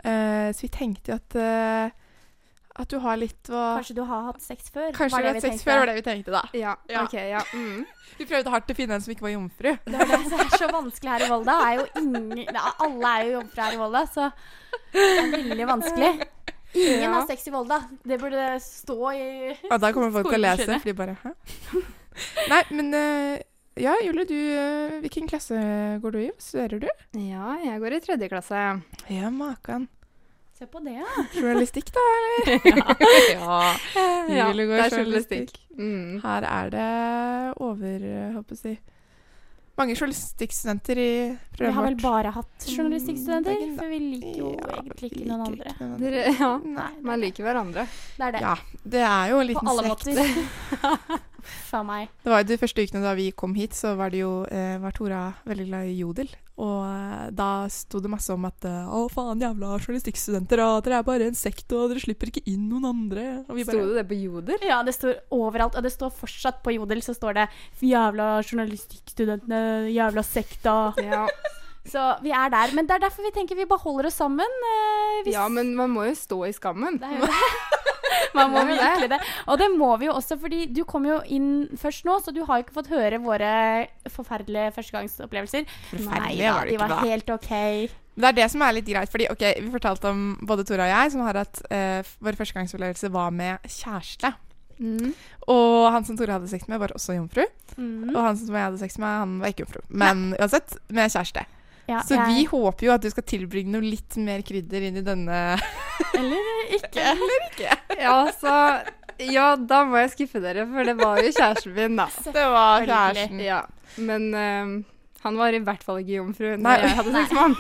Speaker 2: Eh, så vi tenkte jo at eh, At du har litt å
Speaker 1: Kanskje du har hatt sex før?
Speaker 2: Kanskje
Speaker 1: var
Speaker 2: du har
Speaker 1: det
Speaker 2: hatt
Speaker 1: vi
Speaker 2: sex
Speaker 1: tenkte.
Speaker 2: før, var det vi tenkte da.
Speaker 4: Ja,
Speaker 2: Ja.
Speaker 4: ok, ja. Mm.
Speaker 2: Vi prøvde hardt å finne en som ikke var jomfru.
Speaker 1: Det var det som er så vanskelig her i Volda. Er jo ingen, det er- alle er jo jomfruer her i Volda, så det er veldig vanskelig. Ingen
Speaker 4: Ja.
Speaker 1: har sex i Volda. Det burde stå i
Speaker 2: Og da kommer folk til å lese,
Speaker 1: Skoleskjønne.
Speaker 2: for de bare Hæ? Nei, men eh, Ja, Julie, du eh, Hvilken klasse går du i? Hva studerer du?
Speaker 4: ja, jeg går i tredje klasse.
Speaker 2: Ja, makan.
Speaker 1: Se på det, ja.
Speaker 2: Journalistikk, da, eller? ja.
Speaker 4: Ja,
Speaker 2: Julie går
Speaker 4: det er
Speaker 2: journalistikk.
Speaker 4: Mm.
Speaker 2: Her er det over eh, håper jeg å si mange journalistikkstudenter i
Speaker 1: Vi har vel
Speaker 2: programmet
Speaker 1: bare hatt journalistikkstudenter,
Speaker 2: Mm,
Speaker 1: for vi liker jo egentlig ikke noen andre.
Speaker 4: Dere, ja.
Speaker 2: Nei.
Speaker 4: Man liker hverandre.
Speaker 1: Det er det.
Speaker 2: Ja, det er jo en
Speaker 1: På
Speaker 2: liten
Speaker 1: alle
Speaker 2: slekt.
Speaker 1: måter. Faen meg.
Speaker 2: Det var jo de første ukene da vi kom hit, så var det jo, eh, var Tora veldig glad i jodel. Og eh, da sto det masse om at eh, å faen, jævla journalistikkstudenter, og dere er bare en sekt, og dere slipper ikke inn noen andre. Og vi
Speaker 4: Sto
Speaker 2: bare,
Speaker 4: det det på Joder?
Speaker 1: Ja, det står overalt, og det står fortsatt på Jodel, så står det 'jævla journalistikkstudentene, jævla sekta'.
Speaker 4: Ja.
Speaker 1: Så vi er der. Men det er derfor vi tenker vi beholder oss sammen. eh, hvis-
Speaker 4: ja, men man må jo stå i skammen.
Speaker 1: Det er jo det. Man må
Speaker 4: Det er jo
Speaker 1: virkelig det. Og det må vi jo også, fordi du kom jo inn først nå, så du har jo ikke fått høre våre forferdelige førstegangsopplevelser.
Speaker 2: Forferdelig
Speaker 1: Neida,
Speaker 2: var det
Speaker 1: de
Speaker 2: ikke
Speaker 1: var
Speaker 2: da.
Speaker 1: helt OK.
Speaker 2: Det er det som er litt greit, fordi ok, vi fortalte om både Tora og jeg, som har hatt eh, f- vår førstegangsopplevelse var med kjæreste.
Speaker 4: Mm.
Speaker 2: Og han som Tora hadde sex med, var også jomfru. Og han som jeg hadde sex med, han var ikke jomfru. Men uansett, med kjæreste.
Speaker 1: Ja,
Speaker 2: Så
Speaker 1: jeg-
Speaker 2: vi håper jo at du skal tilbringe noe litt mer krydder inn i denne
Speaker 1: Eller ikke.
Speaker 4: Ja, så Ja, da må jeg skuffe dere, for det var jo kjæresten min, da.
Speaker 2: Det var
Speaker 1: Selvfølgelig.
Speaker 2: kjæresten.
Speaker 4: Ja. Men eh, han var i hvert fall ikke jomfru
Speaker 2: Nei.
Speaker 4: når jeg hadde sex med han.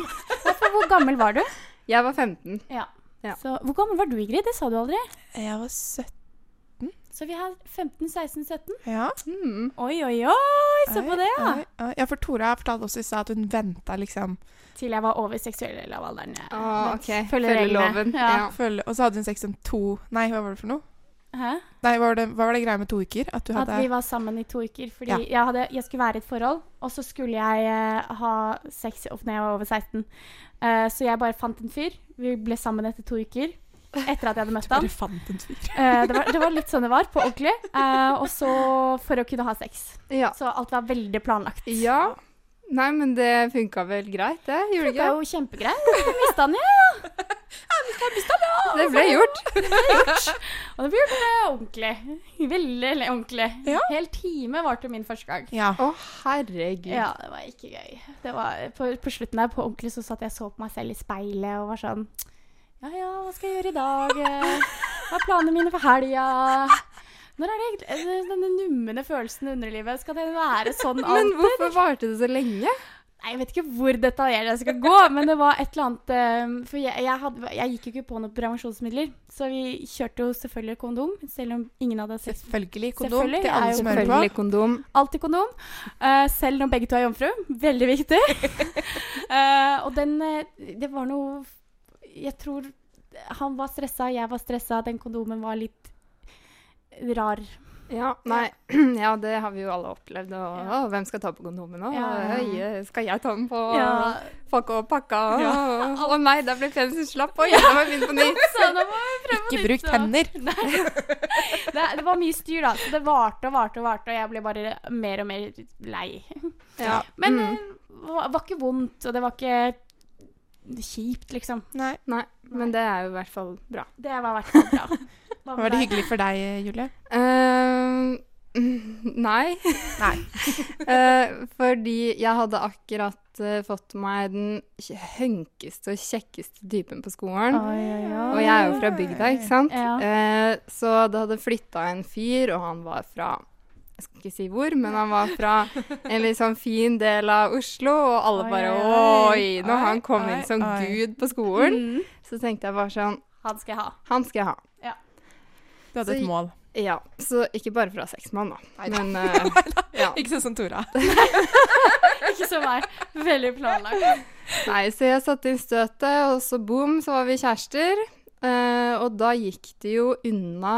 Speaker 1: For hvor gammel var du?
Speaker 4: Jeg var 15.
Speaker 1: Ja.
Speaker 4: Ja.
Speaker 1: Så, hvor gammel var du, Ingrid? Det sa du aldri.
Speaker 2: Jeg var 17.
Speaker 1: Så vi har 15, 16, 17.
Speaker 2: Ja.
Speaker 4: Mm.
Speaker 1: Oi, oi, oi! Se på
Speaker 2: Oi,
Speaker 1: det, ja.
Speaker 2: oi, oi. Ja, for Tora fortalte også i stad at hun venta liksom
Speaker 1: Til jeg var over seksuell lavalderen.
Speaker 4: Ah,
Speaker 1: Men
Speaker 4: ok.
Speaker 1: følger
Speaker 4: Følger
Speaker 1: reglene.
Speaker 4: loven.
Speaker 1: Ja.
Speaker 4: Ja.
Speaker 2: følge, Og så hadde hun sex om to Nei, hva var det for noe?
Speaker 1: Hæ?
Speaker 2: Nei, hva var det, hva var det greia med to uker? At du
Speaker 1: At
Speaker 2: hadde
Speaker 1: vi var sammen i to uker. Fordi
Speaker 2: Ja.
Speaker 1: jeg, hadde, jeg skulle være i et forhold, og så skulle jeg eh, ha sex i- når jeg var over 16. Eh, så jeg bare fant en fyr. Vi ble sammen etter to uker. Etter at jeg hadde møtt han.
Speaker 2: bare fant en fyr.
Speaker 1: Eh, det, var, det var litt sånn det var, på ordentlig. Eh, og så for å kunne ha sex.
Speaker 4: Ja.
Speaker 1: Så alt var veldig planlagt.
Speaker 4: ja. Nei, men det funka vel greit, det? Gjorde det
Speaker 1: Det var
Speaker 4: ikke?
Speaker 1: jo kjempegreit. Jeg mista han, ja.
Speaker 4: Det ble gjort.
Speaker 1: Og det ble gjort eh, ordentlig. Veldig ordentlig.
Speaker 2: Ja.
Speaker 1: Hel time var til min første gang.
Speaker 2: Ja.
Speaker 4: Å, herregud.
Speaker 1: Ja, det var ikke gøy. Det var, på, på slutten der, på ordentlig, så satt jeg og så på meg selv i speilet og var sånn Ja ja, hva skal jeg gjøre i dag? Eh, Hva er planene mine for helga? Når er det egentlig eh, Denne numne følelsen i underlivet, skal den være sånn
Speaker 4: Men
Speaker 1: alltid?
Speaker 4: hvorfor varte det så lenge?
Speaker 1: Nei, Jeg vet ikke hvor detaljert jeg skal gå, men det var et eller annet eh, For jeg, jeg, hadde, jeg gikk jo ikke på noen prevensjonsmidler, så vi kjørte jo selvfølgelig kondom, selv om ingen hadde sett
Speaker 2: Selvfølgelig kondom
Speaker 1: Selvfølgelig,
Speaker 2: til
Speaker 1: jeg er
Speaker 2: alle
Speaker 1: jo
Speaker 2: som hører på.
Speaker 4: Selvfølgelig kondom.
Speaker 1: Alltid kondom. eh, selv når begge to er jomfru. Veldig viktig. Eh, og den eh, Det var noe Jeg tror han var stressa, jeg var stressa, den kondomen var litt rar.
Speaker 4: Ja, nei, ja, det har vi jo alle opplevd. Og,
Speaker 1: Ja.
Speaker 4: å, hvem skal ta på kondomen nå?
Speaker 1: Ja.
Speaker 4: Oi, eh, skal jeg ta den på?
Speaker 1: Ja.
Speaker 4: Pakke og pakka. Å nei, der ble penisen slapp. Oi, da må jeg begynne på nytt.
Speaker 1: Så nå må vi prøve
Speaker 2: Ikke
Speaker 1: nytt,
Speaker 2: brukt
Speaker 1: da.
Speaker 2: hender.
Speaker 1: Nei. Det, det var mye styr, da. Så det varte og varte og varte, og jeg ble bare mer og mer lei.
Speaker 4: Ja.
Speaker 1: Men eh,
Speaker 4: Mm.
Speaker 1: det var, var ikke vondt, og det var ikke kjipt, liksom.
Speaker 2: Nei.
Speaker 4: Nei, men det er jo i hvert fall bra.
Speaker 1: Det var i hvert fall bra. Hva med
Speaker 2: Var det
Speaker 1: deg?
Speaker 2: hyggelig for deg, Julie?
Speaker 4: Eh, nei.
Speaker 2: Nei.
Speaker 4: Eh, fordi jeg hadde akkurat eh, fått meg den kje- hønkeste og kjekkeste typen på skolen. Og jeg er jo fra bygda, ikke sant?
Speaker 1: Ah. Ja.
Speaker 4: Eh, så det hadde flytta en fyr, og han var fra jeg skal ikke si hvor, men han var fra en litt sånn fin del av Oslo, og alle
Speaker 1: Oi,
Speaker 4: bare
Speaker 1: oi,
Speaker 4: Oi! Når
Speaker 2: oi,
Speaker 4: han kom
Speaker 2: oi,
Speaker 4: inn som
Speaker 2: oi.
Speaker 4: gud på skolen,
Speaker 1: Mm.
Speaker 4: så tenkte jeg bare sånn
Speaker 1: Han skal jeg ha.
Speaker 4: Han skal jeg ha.
Speaker 2: Du hadde
Speaker 4: Så-
Speaker 2: et mål.
Speaker 4: Ja. Så ikke bare fra sexmann, da. Men eh, ja.
Speaker 2: Ikke sånn som Tora.
Speaker 1: Ikke som meg. Veldig planlagt.
Speaker 4: Nei, så jeg satte inn støtet, og så boom, så var vi kjærester. Eh, og da gikk det jo unna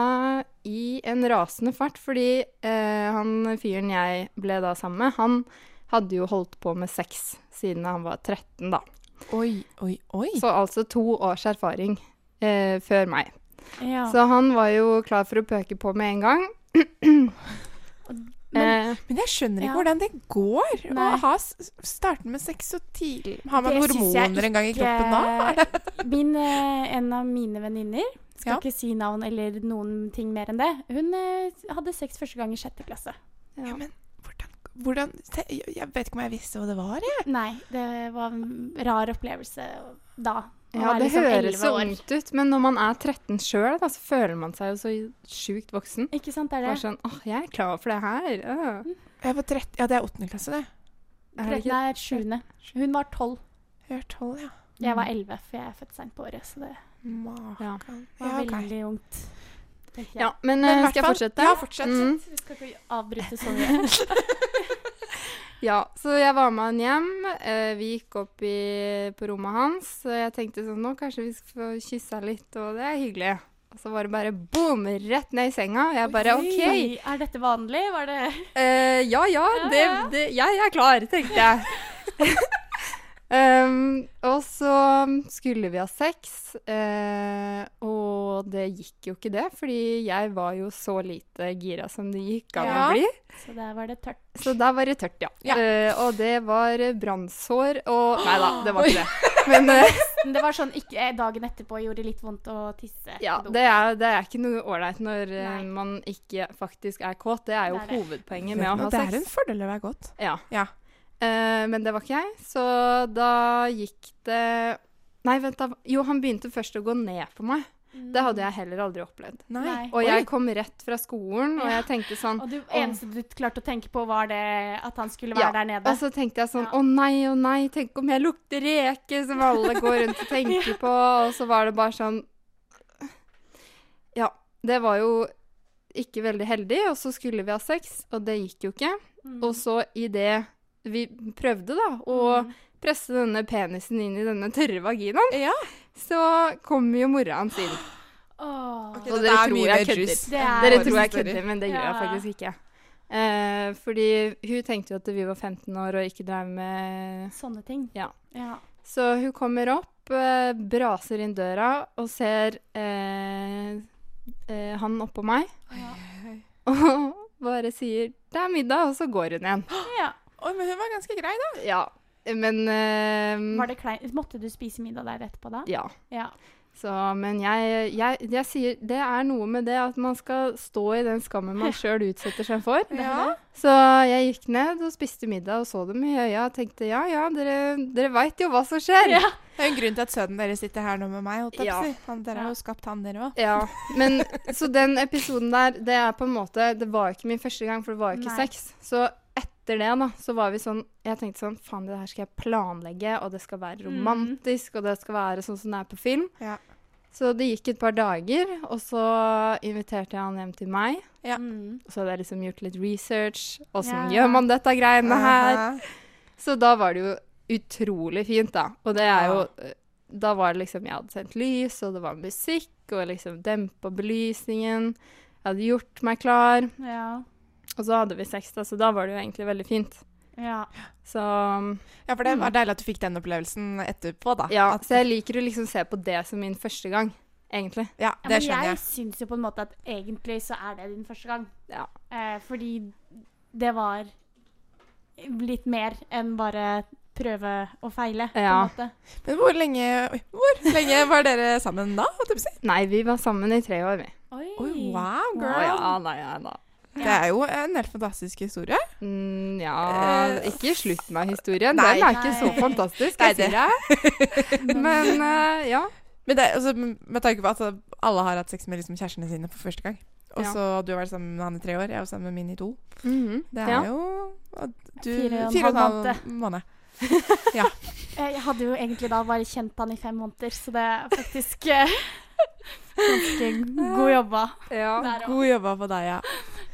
Speaker 4: i en rasende fart, fordi eh, han fyren jeg ble da sammen med, han hadde jo holdt på med sex siden han var 13, da.
Speaker 2: Oi, oi, oi.
Speaker 4: Så altså to års erfaring eh, før meg.
Speaker 1: Ja.
Speaker 4: Så han var jo klar for å pøke på med en gang. eh,
Speaker 2: Men jeg skjønner ikke
Speaker 1: Ja.
Speaker 2: hvordan det går å
Speaker 1: Nei.
Speaker 2: ha s- starte med sex så tidlig. Har man
Speaker 1: Det synes jeg
Speaker 2: hormoner en gang i
Speaker 1: ikke-
Speaker 2: kroppen da?
Speaker 1: Min, eh, en av mine venninner, skal
Speaker 2: Ja.
Speaker 1: ikke si navn eller noen ting mer enn det, hun eh, hadde sex første gang i sjette klasse.
Speaker 2: Ja, men hvordan, hvordan se, Jeg vet ikke om jeg visste hva det var, jeg.
Speaker 1: Nei, det var en rar opplevelse da. å
Speaker 4: ja,
Speaker 1: være
Speaker 4: det
Speaker 1: liksom
Speaker 4: høres
Speaker 1: 11
Speaker 4: så
Speaker 1: år.
Speaker 4: ungt ut, men når man er 13 sjøl, så føler man seg jo så sjukt voksen.
Speaker 1: Ikke sant, det er
Speaker 4: Bare
Speaker 1: det?
Speaker 4: sånn åh, jeg er klar for det her. øh».
Speaker 2: jeg var 30, ja, det er åttende klasse, det.
Speaker 4: Er det ikke?
Speaker 1: Nei, sjuende. Hun var tolv.
Speaker 2: Jeg er tolv, ja.
Speaker 1: Jeg var elleve, for jeg er født seint på året. Så det
Speaker 2: Makan.
Speaker 4: Ja.
Speaker 1: var
Speaker 2: Ja, ok.
Speaker 1: veldig ungt. tenker jeg.
Speaker 4: Ja, men,
Speaker 2: Men i
Speaker 4: eh,
Speaker 2: hvert
Speaker 4: skal jeg
Speaker 2: fall-
Speaker 4: fortsette?
Speaker 2: Ja, fortsett.
Speaker 4: Mm.
Speaker 1: Vi skal ikke avbryte så mye.
Speaker 4: Ja, så jeg var med han hjem. eh, Vi gikk opp i, på rommet hans. og Jeg tenkte sånn nå kanskje vi skal få kyssa litt, og det er hyggelig. Og så var det bare boom, rett ned i senga. Og jeg bare OK.
Speaker 1: Oi, Er dette vanlig? Var det
Speaker 4: eh, ja ja, det,
Speaker 1: ja.
Speaker 4: det, jeg er klar, tenkte jeg. um, og så skulle vi ha sex, eh, og det gikk jo ikke det. Fordi jeg var jo så lite gira som det gikk an
Speaker 2: Ja.
Speaker 4: å bli.
Speaker 1: Så der var det tørt.
Speaker 4: Så der var det tørt, ja.
Speaker 2: Ja.
Speaker 4: Eh, og det var brannsår og Nei da, det var ikke det. Men eh,
Speaker 1: Men det var sånn ikke, eh, dagen etterpå gjorde det litt vondt å tisse.
Speaker 4: ja,
Speaker 1: på do.
Speaker 4: det er, det er ikke noe ålreit når eh,
Speaker 1: Nei.
Speaker 4: man ikke faktisk er kåt. Det er jo
Speaker 1: Det er det.
Speaker 4: hovedpoenget med å ha
Speaker 2: det er en
Speaker 4: sex.
Speaker 2: fordel å være godt.
Speaker 4: Ja.
Speaker 2: Ja.
Speaker 4: Eh, men det var ikke jeg, så da gikk det Nei, vent, da. Jo, han begynte først å gå ned på meg.
Speaker 1: Mm.
Speaker 4: Det hadde jeg heller aldri opplevd.
Speaker 2: Nei.
Speaker 1: Nei.
Speaker 4: Og
Speaker 2: Oi.
Speaker 4: jeg kom rett fra skolen, og jeg tenkte sånn
Speaker 1: Og det eneste du klarte å tenke på, var det at han skulle være
Speaker 4: Ja,
Speaker 1: der nede.
Speaker 4: Og så tenkte jeg sånn,
Speaker 1: Ja.
Speaker 4: å nei, å nei, tenk om jeg lukter reke, som alle går rundt og tenker på. Og så var det bare sånn Ja, det var jo ikke veldig heldig, og så skulle vi ha sex, og det gikk jo ikke.
Speaker 1: Mm.
Speaker 4: Og så i det vi prøvde, da, å
Speaker 1: Mm.
Speaker 4: presse denne penisen inn i denne tørre vaginaen,
Speaker 2: Ja.
Speaker 4: så kom jo mora hans inn.
Speaker 1: Åh.
Speaker 2: Ok, dette
Speaker 4: Og dere
Speaker 2: er
Speaker 4: tror
Speaker 2: mye
Speaker 4: jeg
Speaker 2: mer
Speaker 4: kødder.
Speaker 2: juice.
Speaker 1: Ah, Det er-
Speaker 4: Dere
Speaker 2: Vår
Speaker 4: tror jeg
Speaker 2: historie.
Speaker 4: kødder, men det gjør jeg
Speaker 1: Ja.
Speaker 4: faktisk ikke. Eh, fordi hun tenkte jo at vi var 15 år og ikke drev med
Speaker 1: Sånne ting.
Speaker 4: Ja.
Speaker 1: Ja.
Speaker 4: Så hun kommer opp, eh, braser inn døra og ser eh, eh, han oppå meg. Og bare sier 'det er middag', og så går hun igjen.
Speaker 1: ja.
Speaker 2: Oi, men hun var ganske grei, da.
Speaker 4: Ja, men eh,
Speaker 1: Var det klein? Måtte du spise middag der etterpå da?
Speaker 4: Ja.
Speaker 1: Ja.
Speaker 4: Så, men jeg, jeg, jeg sier det er noe med det at man skal stå i den skammen man sjøl utsetter seg for.
Speaker 2: Ja.
Speaker 4: Så jeg gikk ned og spiste middag og så dem i øya og tenkte ja, ja, dere, dere veit jo hva som skjer.
Speaker 1: Ja.
Speaker 2: Det er jo en grunn til at sønnen deres sitter her nå med meg. holdt jeg på å
Speaker 4: Ja.
Speaker 2: si. Han, dere har jo skapt han, dere òg.
Speaker 4: Ja, men Så den episoden der, det er på en måte Det var ikke min første gang, for det var ikke
Speaker 1: Nei.
Speaker 4: sex. Så etter det, da, så var vi sånn Jeg tenkte sånn Faen, det her skal jeg planlegge, og det skal være romantisk, og det skal være sånn som det er på film.
Speaker 2: Ja.
Speaker 4: Så det gikk et par dager, og så inviterte jeg han hjem til meg.
Speaker 2: Ja.
Speaker 1: Mm.
Speaker 4: Og så hadde jeg liksom gjort litt research. Åssen
Speaker 1: Ja.
Speaker 4: gjør man dette greiene her?
Speaker 2: Aha.
Speaker 4: Så da var det jo utrolig fint, da. Og det er jo eh, Da var det liksom Jeg hadde sendt lys, og det var musikk, og liksom dempa belysningen. Jeg hadde gjort meg klar,
Speaker 1: Ja.
Speaker 4: og så hadde vi sex, da, så da var det jo egentlig veldig fint.
Speaker 1: Ja.
Speaker 4: Så
Speaker 2: Ja, for det var deilig at du fikk den opplevelsen etterpå, da.
Speaker 4: Mm. ja,
Speaker 2: At,
Speaker 4: så jeg liker å liksom se på det som min første gang, egentlig.
Speaker 2: ja
Speaker 1: Ja,
Speaker 2: det
Speaker 1: men
Speaker 2: skjønner
Speaker 1: jeg
Speaker 2: jeg.
Speaker 1: syns jo på en måte at egentlig så er det din første gang.
Speaker 4: Ja.
Speaker 1: Eh, fordi det var litt mer enn bare prøve og feile, på en
Speaker 4: Ja.
Speaker 1: måte.
Speaker 2: Men hvor lenge, oi, hvor lenge var dere sammen da? holdt jeg på å si?
Speaker 4: Nei, vi var sammen i tre år, vi.
Speaker 1: Oi.
Speaker 2: Oi, wow,
Speaker 4: Å
Speaker 2: girl.
Speaker 4: ja, nei, nei, nei.
Speaker 2: Det er jo en helt fantastisk historie.
Speaker 4: Mm, ja
Speaker 2: Eh,
Speaker 4: Ikke slutt meg historien.
Speaker 2: nei.
Speaker 4: Den er ikke så
Speaker 1: Nei.
Speaker 4: fantastisk,
Speaker 2: Nei,
Speaker 4: jeg sier det. Men eh, ja.
Speaker 2: Men det, altså, med tanke på at alle har hatt sex med liksom, kjærestene sine for første gang. Og så du har vært sammen med han i tre år, jeg var sammen med min i to.
Speaker 4: Mhm,
Speaker 2: Det er
Speaker 4: ja.
Speaker 2: jo at du,
Speaker 1: Fire og en
Speaker 2: fire og en
Speaker 1: halv
Speaker 2: halv måned.
Speaker 1: Eh, Jeg hadde jo egentlig da bare kjent han i fem måneder, så det er faktisk eh, ganske god jobba.
Speaker 4: Ja.
Speaker 1: Der også.
Speaker 2: God jobba på deg, ja.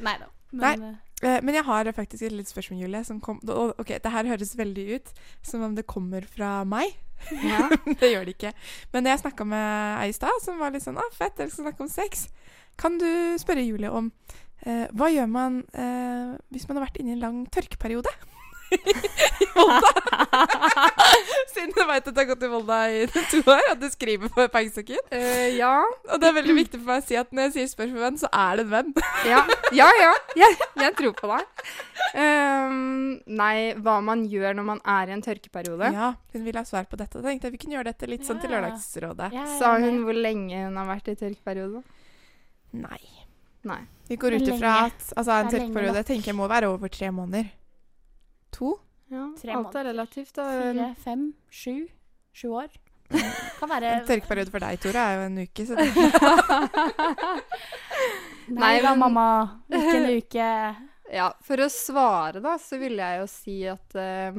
Speaker 1: Nei da. Men
Speaker 2: Nei.
Speaker 1: eh,
Speaker 2: Eh, Men jeg har faktisk et lite spørsmål, Julie. Som kom, og- ok, Det her høres veldig ut som om det kommer fra meg.
Speaker 4: Ja.
Speaker 2: det gjør det ikke. Men jeg snakka med ei i stad som var litt sånn ah, 'Fett, dere skal snakke om sex'. Kan du spørre Julie om eh, hva gjør man eh, hvis man har vært inne i en lang tørkeperiode? I Volda. Siden du veit at du har gått i Volda i to år, at du skriver på pengesekken.
Speaker 4: Eh, ja.
Speaker 2: Og det er veldig viktig for meg å si at når jeg sier 'spør for venn', så er det en venn.
Speaker 4: Ja, ja. ja. Jeg, jeg tror på deg. Ehm, nei, hva man gjør når man er i en tørkeperiode.
Speaker 2: Ja, hun ville ha svar på dette. og tenkte jeg vi kunne gjøre dette litt sånn til
Speaker 1: Ja.
Speaker 2: Lørdagsrådet.
Speaker 1: jeg er
Speaker 4: Sa
Speaker 1: enig.
Speaker 4: hun hvor lenge hun har vært i tørkeperiode?
Speaker 2: Nei.
Speaker 4: Nei.
Speaker 2: Vi går
Speaker 1: Det
Speaker 2: ut
Speaker 1: er
Speaker 2: ifra
Speaker 1: lenge.
Speaker 2: at altså, en
Speaker 1: Det er lenge
Speaker 2: tørkeperiode tenker jeg må være over tre måneder. To?
Speaker 4: Ja,
Speaker 1: Tre
Speaker 4: alt er
Speaker 1: måneder.
Speaker 4: relativt, da.
Speaker 1: Fire, fem, sju. Sju år. Kan være
Speaker 2: En tørkeperiode for deg, Tore, er jo en uke. Så det,
Speaker 1: Nei
Speaker 4: Nei,
Speaker 1: da,
Speaker 4: men-
Speaker 1: mamma. Ikke en uke.
Speaker 4: Ja, for å svare, da, så ville jeg jo si at eh,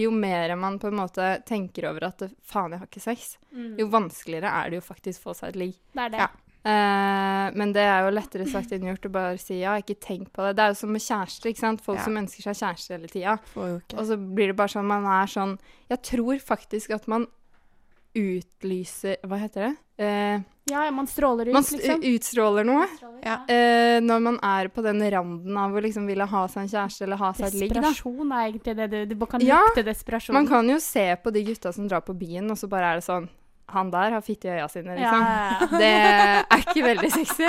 Speaker 4: jo mer man på en måte tenker over at faen, jeg har ikke sex,
Speaker 1: Mm.
Speaker 4: jo vanskeligere er det jo faktisk å få seg et ligg.
Speaker 1: Det er det.
Speaker 2: Ja.
Speaker 4: Eh, men det er jo lettere sagt enn gjort å bare si ja, ikke tenk på det. Det er jo som med kjærester, ikke sant. Folk
Speaker 2: Ja.
Speaker 4: som ønsker seg kjæreste hele tida.
Speaker 2: får jo ikke.
Speaker 4: Og så blir det bare sånn man er sånn Jeg tror faktisk at man utlyser Hva heter det? Eh,
Speaker 1: Ja, ja, man stråler ut,
Speaker 4: man s-
Speaker 1: liksom.
Speaker 4: utstråler noe.
Speaker 1: Stråler,
Speaker 2: Ja.
Speaker 4: Eh, når man er på den randen av å liksom ville ha seg en kjæreste eller ha seg et ligg, da.
Speaker 1: Desperasjon er egentlig det du, du kan
Speaker 4: Ja,
Speaker 1: lukte desperasjon.
Speaker 4: Man kan jo se på de gutta som drar på byen, og så bare er det sånn Han der har fitte i øya sine,
Speaker 1: ja,
Speaker 4: liksom.
Speaker 1: ja, ja.
Speaker 4: Det er ikke veldig sexy.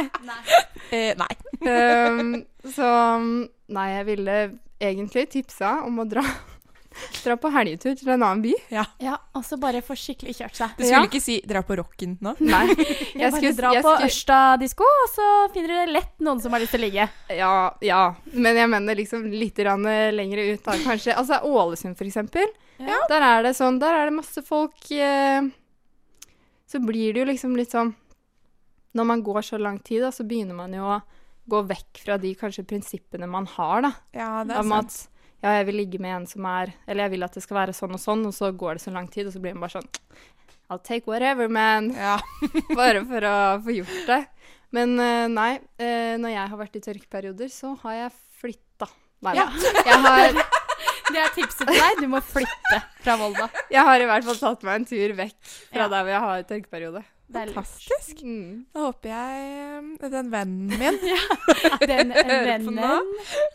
Speaker 2: Eh, nei.
Speaker 4: Um, så um, Nei, jeg ville egentlig tipsa om å dra, dra på helgetur til en annen by.
Speaker 1: ja, og så bare få skikkelig kjørt seg.
Speaker 2: Du skulle
Speaker 4: Ja.
Speaker 2: ikke si 'dra på rocken' nå?
Speaker 4: Nei.
Speaker 1: Jeg skulle dra på Ørsta-disko, og så finner du lett noen som har lyst til å ligge.
Speaker 4: Ja, ja. Men jeg mener liksom litt grann, eh, lenger ut da, kanskje. Altså Ålesund, for eksempel.
Speaker 1: Ja.
Speaker 4: Der er det sånn, der er det masse folk. Eh, så blir det jo liksom litt sånn Når man går så lang tid, da, så begynner man jo å gå vekk fra de kanskje prinsippene man har, da.
Speaker 2: Ja, det er
Speaker 4: Om
Speaker 2: sant.
Speaker 4: at ja, jeg vil ligge med en som er Eller jeg vil at det skal være sånn og sånn, og så går det så lang tid, og så blir man bare sånn I'll take whatever, man.
Speaker 2: Ja.
Speaker 4: Bare for å få gjort det. Men eh, nei, eh, når jeg har vært i tørkeperioder, så har jeg flytta. Nei da. Jeg har
Speaker 1: Det er tipset til deg. Du må flytte fra Volda.
Speaker 4: Jeg har i hvert fall tatt meg en tur vekk fra
Speaker 1: Ja.
Speaker 4: der hvor jeg har tørkeperiode.
Speaker 1: Det er lurt.
Speaker 2: Fantastisk.
Speaker 4: Mm.
Speaker 2: Da håper jeg eh, den vennen min
Speaker 1: Den
Speaker 2: hører på nå.
Speaker 1: vennen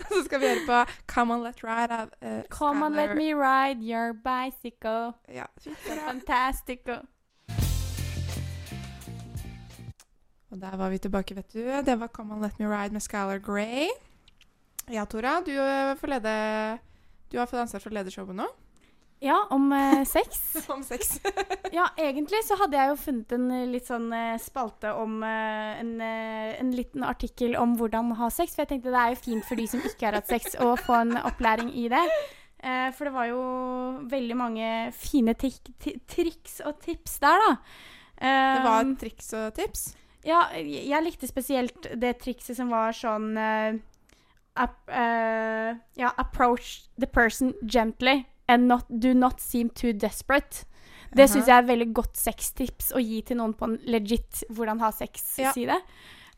Speaker 2: Så skal vi høre på Come On Let Ride av eh,
Speaker 1: Come and let
Speaker 2: Skylar.
Speaker 1: me ride your bicycle.
Speaker 2: Ja, fint.
Speaker 1: Fantastico.
Speaker 2: Og der var vi tilbake, vet du. Det var Come On Let Me Ride med Skylar Grey. Ja, Tora, du eh, får lede Du har fått ansvar for å lede showet nå.
Speaker 1: Ja, om eh, sex.
Speaker 2: Om sex.
Speaker 1: Ja, egentlig så hadde jeg jo funnet en eh, litt sånn eh, spalte om eh, en, eh, en liten artikkel om hvordan ha sex, for jeg tenkte det er jo fint for de som ikke har hatt sex å få en opplæring i det. Eh, for det var jo veldig mange fine tik ti- triks og tips der, da.
Speaker 2: Det var
Speaker 1: Um,
Speaker 2: et triks og tips.
Speaker 1: Ja, jeg jeg likte spesielt det trikset som var sånn eh, ap- eh, Ja, approach the person gently and not, do not seem too desperate. Det syns jeg er et veldig godt sextips å gi til noen på en legit hvordan ha
Speaker 2: Ja.
Speaker 1: sex-side.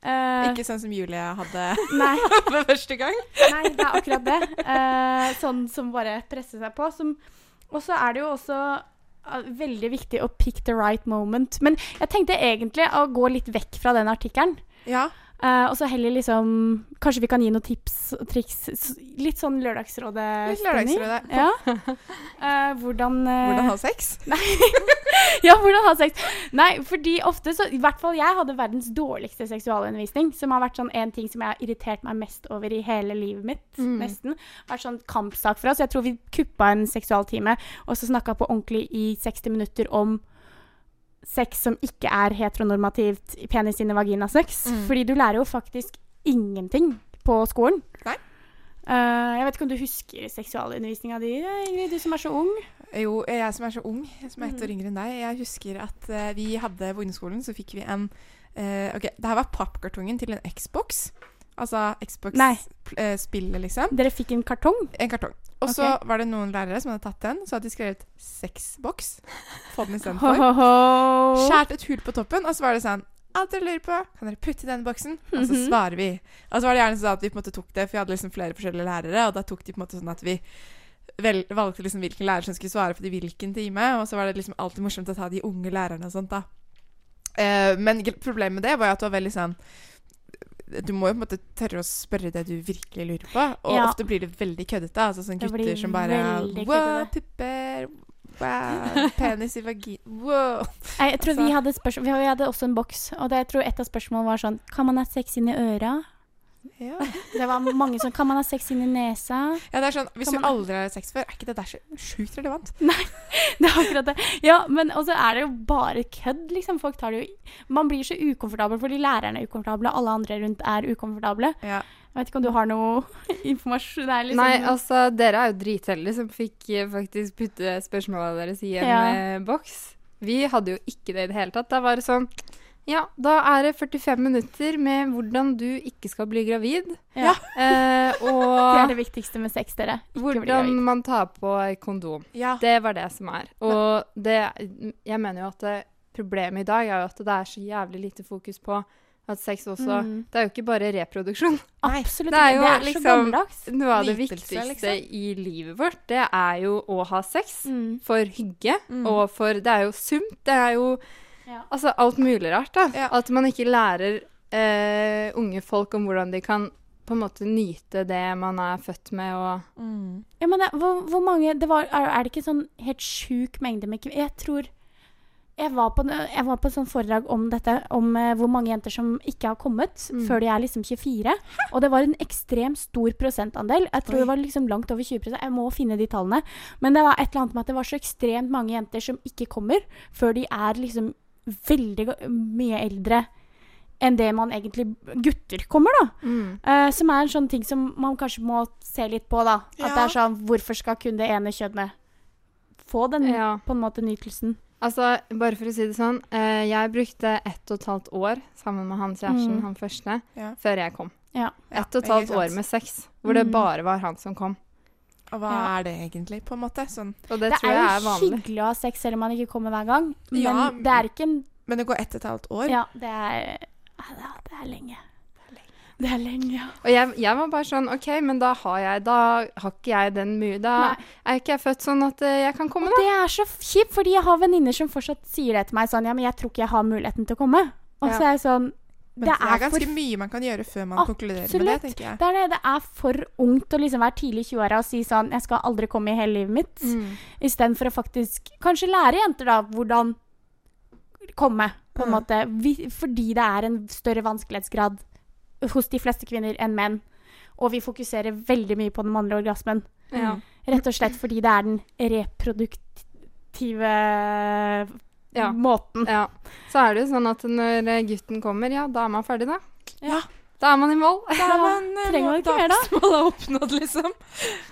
Speaker 1: Eh,
Speaker 2: Ikke sånn som Julie hadde
Speaker 1: nei,
Speaker 2: for første gang.
Speaker 1: nei, det er akkurat det. Eh, sånn som bare presser seg på. Som, og så er det jo også eh, veldig viktig å pick the right moment. Men jeg tenkte egentlig å gå litt vekk fra den artikkelen.
Speaker 2: Ja.
Speaker 1: Eh, og så heller liksom Kanskje vi kan gi noen tips og triks. s- Litt sånn Lørdagsrådet.
Speaker 2: Litt Lørdagsrådet.
Speaker 1: Ja. Eh, hvordan eh,
Speaker 2: Hvordan ha sex?
Speaker 1: Ja, hvordan ha sex. Nei, fordi ofte så I hvert fall jeg hadde verdens dårligste seksualundervisning. Som har vært sånn en ting som jeg har irritert meg mest over i hele livet mitt. Nesten. Vært sånn kampsak for oss. Jeg tror vi kuppa en seksualtime og så snakka på ordentlig i 60 minutter om sex som ikke er heteronormativt penis inn i vaginasex. Fordi du lærer jo faktisk ingenting på skolen.
Speaker 2: Nei.
Speaker 1: Eh, jeg vet ikke om du husker seksualundervisninga di, Ingrid, du som er så ung?
Speaker 2: Jo, jeg som er så ung, som er ett år yngre enn deg, jeg husker at eh, vi hadde på ungdomsskolen, så fikk vi en eh, Ok, det her var pappkartongen til en Xbox. Altså
Speaker 1: Nei.
Speaker 2: Xbox-spillet, liksom.
Speaker 1: Dere fikk en kartong.
Speaker 2: En kartong. Og så var det noen lærere som hadde tatt den, så hadde de skrevet sexboks på den istedenfor.
Speaker 1: Ho-ho-ho.
Speaker 2: Skjært et hull på toppen, og så var det sånn Alt dere lurer på, kan dere putte i denne boksen? Og
Speaker 1: Mhm.
Speaker 2: så svarer vi. Og så var det gjerne sånn at vi på en måte tok det, for vi hadde liksom flere forskjellige lærere, og da tok de på en måte sånn at vi vel, valgte liksom hvilken lærer som skulle svare på det i hvilken time, og så var det liksom alltid morsomt å ta de unge lærerne og sånt, da. Eh, men gre- problemet med det var jo at det var veldig sånn du må jo på en måte tørre å spørre det du virkelig lurer på. Og
Speaker 1: Ja.
Speaker 2: ofte blir det veldig køddete. Altså sånne
Speaker 1: Det blir
Speaker 2: gutter som bare
Speaker 1: veldig
Speaker 2: Wow,
Speaker 1: køddete.
Speaker 2: pupper. Wow, penis i vagina. Wow.
Speaker 1: Nei, Jeg tror
Speaker 2: Altså-
Speaker 1: vi hadde spørsmål Vi hadde også en boks, og det, jeg tror et av spørsmålene var sånn Kan man ha sex inn i øra?
Speaker 2: Ja.
Speaker 1: Det var mange sånn Kan man ha sex inn i nesa?
Speaker 2: Ja, det er sånn, Hvis
Speaker 1: Kan
Speaker 2: du
Speaker 1: man-
Speaker 2: aldri har sex før, er ikke det der så sjukt relevant?
Speaker 1: Det er akkurat det. Ja, men og så er det jo bare kødd, liksom. Folk tar det jo Man blir så ukomfortabel fordi lærerne er ukomfortable, og alle andre rundt er ukomfortable.
Speaker 2: Ja.
Speaker 1: Jeg vet ikke om du har noe informasjon Det er liksom
Speaker 4: Nei, altså, dere er jo dritheldige som fikk eh, faktisk putte spørsmålene deres i en
Speaker 1: Ja.
Speaker 4: eh, boks. Vi hadde jo ikke det i det hele tatt. Da var det sånn Ja, da er det 45 minutter med hvordan du ikke skal bli gravid.
Speaker 1: ja.
Speaker 4: Eh,
Speaker 1: Det er
Speaker 4: og
Speaker 1: det viktigste med sex, dere. Ikke bli
Speaker 4: hvordan
Speaker 1: gravid.
Speaker 4: man tar på kondom.
Speaker 2: Ja.
Speaker 4: Det var det som er. Og det, jeg mener jo at det, problemet i dag er jo at det er så jævlig lite fokus på at sex også
Speaker 1: Mm.
Speaker 4: Det er jo ikke bare reproduksjon.
Speaker 1: Absolutt.
Speaker 4: det er jo
Speaker 1: ikke. det er
Speaker 4: liksom-
Speaker 1: så gammeldags.
Speaker 4: Noe av det
Speaker 2: Nytelse,
Speaker 4: viktigste
Speaker 2: liksom.
Speaker 4: i livet vårt, det er jo å ha sex.
Speaker 1: Mm.
Speaker 4: For hygge,
Speaker 2: Mm.
Speaker 4: og for Det er jo sump. Det er jo
Speaker 1: Ja.
Speaker 4: altså, alt mulig rart, da.
Speaker 2: Ja.
Speaker 4: At man ikke lærer eh, unge folk om hvordan de kan på en måte nyte det man er født med, og
Speaker 2: Mm.
Speaker 1: Ja, men det, hvor, hvor mange det var, er, er det ikke sånn helt sjuk mengde med kvinner? Jeg tror jeg var, på, en- jeg var på et sånt foredrag om dette, om eh, hvor mange jenter som ikke har kommet
Speaker 4: Mm.
Speaker 1: før de er liksom 24. Og det var en ekstremt stor prosentandel. Jeg tror
Speaker 2: Oi.
Speaker 1: det var liksom langt over 20 Jeg må finne de tallene. Men det var et eller annet med at det var så ekstremt mange jenter som ikke kommer før de er liksom veldig go- mye eldre enn det man egentlig Gutter kommer, da. Eh, som er en sånn ting som man kanskje må se litt på, da. At
Speaker 2: Ja.
Speaker 1: det er sånn Hvorfor skal kun det ene kjønnet få den
Speaker 4: Ja.
Speaker 1: på en måte nytelsen?
Speaker 4: Altså, bare for å si det sånn, eh, jeg brukte ett og et halvt år sammen med han kjæresten,
Speaker 1: Mm.
Speaker 4: han første,
Speaker 2: Ja.
Speaker 4: før jeg kom.
Speaker 1: Ja.
Speaker 2: Ja,
Speaker 4: Ett og et
Speaker 2: ikke
Speaker 4: halvt
Speaker 2: sant.
Speaker 4: år med sex, hvor det
Speaker 1: Mm.
Speaker 4: bare var han som kom.
Speaker 2: Og hva
Speaker 1: Ja.
Speaker 2: er det egentlig, på en måte? Sånn.
Speaker 4: Og det,
Speaker 1: Det,
Speaker 4: tror
Speaker 1: er
Speaker 4: jeg
Speaker 1: jo
Speaker 4: er vanlig.
Speaker 1: hyggelig å ha sex selv om man ikke kommer hver gang, men
Speaker 2: Ja.
Speaker 1: det er ikke en
Speaker 2: Men det går ett og et halvt år.
Speaker 1: Ja, det er, ja, det er lenge. Det er lenge, ja.
Speaker 4: Og jeg, jeg var bare sånn OK, men da har jeg Da har ikke jeg den mye. Da
Speaker 1: Nei.
Speaker 4: er ikke jeg født sånn at eh, jeg kan komme, da.
Speaker 1: Det er så kjipt, fordi jeg har venninner som fortsatt sier det til meg sånn Ja, men jeg tror ikke jeg har muligheten til å komme. Og
Speaker 4: Ja.
Speaker 1: så er jeg sånn
Speaker 2: Men
Speaker 1: Det
Speaker 2: det
Speaker 1: er
Speaker 2: er ganske
Speaker 1: for-
Speaker 2: mye man kan gjøre før man konkluderer med det,
Speaker 1: Absolutt.
Speaker 2: tenker jeg.
Speaker 1: Det er, det, det er for ungt å liksom være tidlig i 20-åra og si sånn Jeg skal aldri komme i hele livet mitt. Istedenfor å faktisk kanskje lære jenter da hvordan komme, på en
Speaker 2: Mm.
Speaker 1: måte. Vi, fordi det er en større vanskelighetsgrad hos de fleste kvinner enn menn. Og vi fokuserer veldig mye på den mannlige orgasmen.
Speaker 4: Ja.
Speaker 1: Rett og slett fordi det er den reproduktive
Speaker 4: Ja.
Speaker 1: måten.
Speaker 4: ja. Så er det jo sånn at når eh, gutten kommer, ja, da er man ferdig, da.
Speaker 2: Ja.
Speaker 4: Da er man i mål.
Speaker 2: Da er man, eh,
Speaker 1: trenger man ikke
Speaker 2: da-
Speaker 1: mer da.
Speaker 2: som alle har oppnådd, liksom.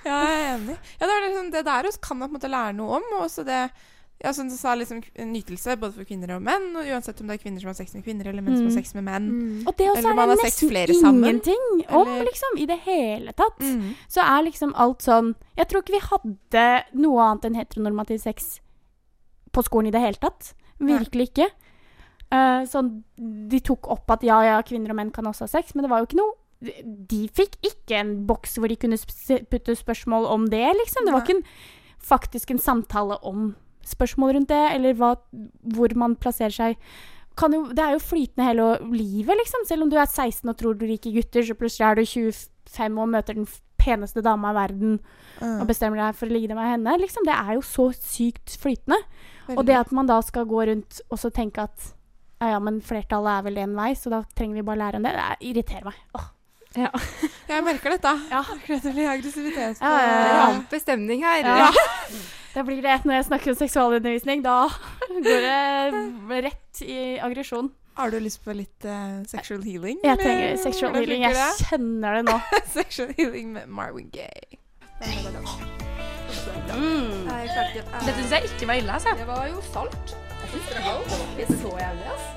Speaker 2: Ja, jeg er enig. Ja, det, er liksom, det der også kan man på en måte lære noe om. Og også det ja, som du sa, liksom, nytelse både for kvinner og menn. Og uansett om det er kvinner som har sex med kvinner, eller menn som
Speaker 1: Mm.
Speaker 2: har sex med menn.
Speaker 1: Og det også
Speaker 2: Eller om
Speaker 1: er
Speaker 2: man
Speaker 1: det
Speaker 2: har sex
Speaker 1: nesten
Speaker 2: flere sammen,
Speaker 1: ingenting om,
Speaker 2: eller-
Speaker 1: liksom, i det hele tatt.
Speaker 2: Mm.
Speaker 1: Så er liksom alt sånn Jeg tror ikke vi hadde noe annet enn heteronormativ sex på skolen i det hele tatt. Virkelig ikke. Eh, sånn, de tok opp at ja, ja, kvinner og menn kan også ha sex, men det var jo ikke noe De fikk ikke en boks hvor de kunne sp- putte spørsmål om det, liksom. Det var
Speaker 2: Nei.
Speaker 1: ikke en, faktisk en samtale om spørsmål rundt det, eller hva, hvor man plasserer seg. Kan jo, det er jo flytende hele livet, liksom. Selv om du er 16 og tror du liker gutter, så plutselig er du 25 og møter den f- peneste dama i verden
Speaker 2: Mm.
Speaker 1: og bestemmer deg for å ligge med henne. Liksom, det er jo så sykt flytende. Og
Speaker 2: Veldig.
Speaker 1: det at man da skal gå rundt og så tenke at ja, ja, men flertallet er vel én vei, så da trenger vi bare lære om det. Det er- irriterer meg. Åh.
Speaker 2: Jeg merker dette.
Speaker 1: Ja.
Speaker 2: Jeg merker dette veldig aggressivitet.
Speaker 1: Ja, ja,
Speaker 4: Det er
Speaker 1: ja.
Speaker 4: Amper stemning her.
Speaker 1: Ja. Da blir det når jeg snakker om seksualundervisning. Da går det rett i aggresjon.
Speaker 2: Har du lyst på litt eh, sexual healing?
Speaker 1: Jeg
Speaker 2: eller
Speaker 1: trenger sexual
Speaker 2: hvordan
Speaker 1: healing.
Speaker 2: funker
Speaker 1: Jeg kjenner det nå.
Speaker 2: det? Sexual healing med Marvin Gaye.
Speaker 5: Dette syns jeg ikke var ille. Altså. Det var jo salt.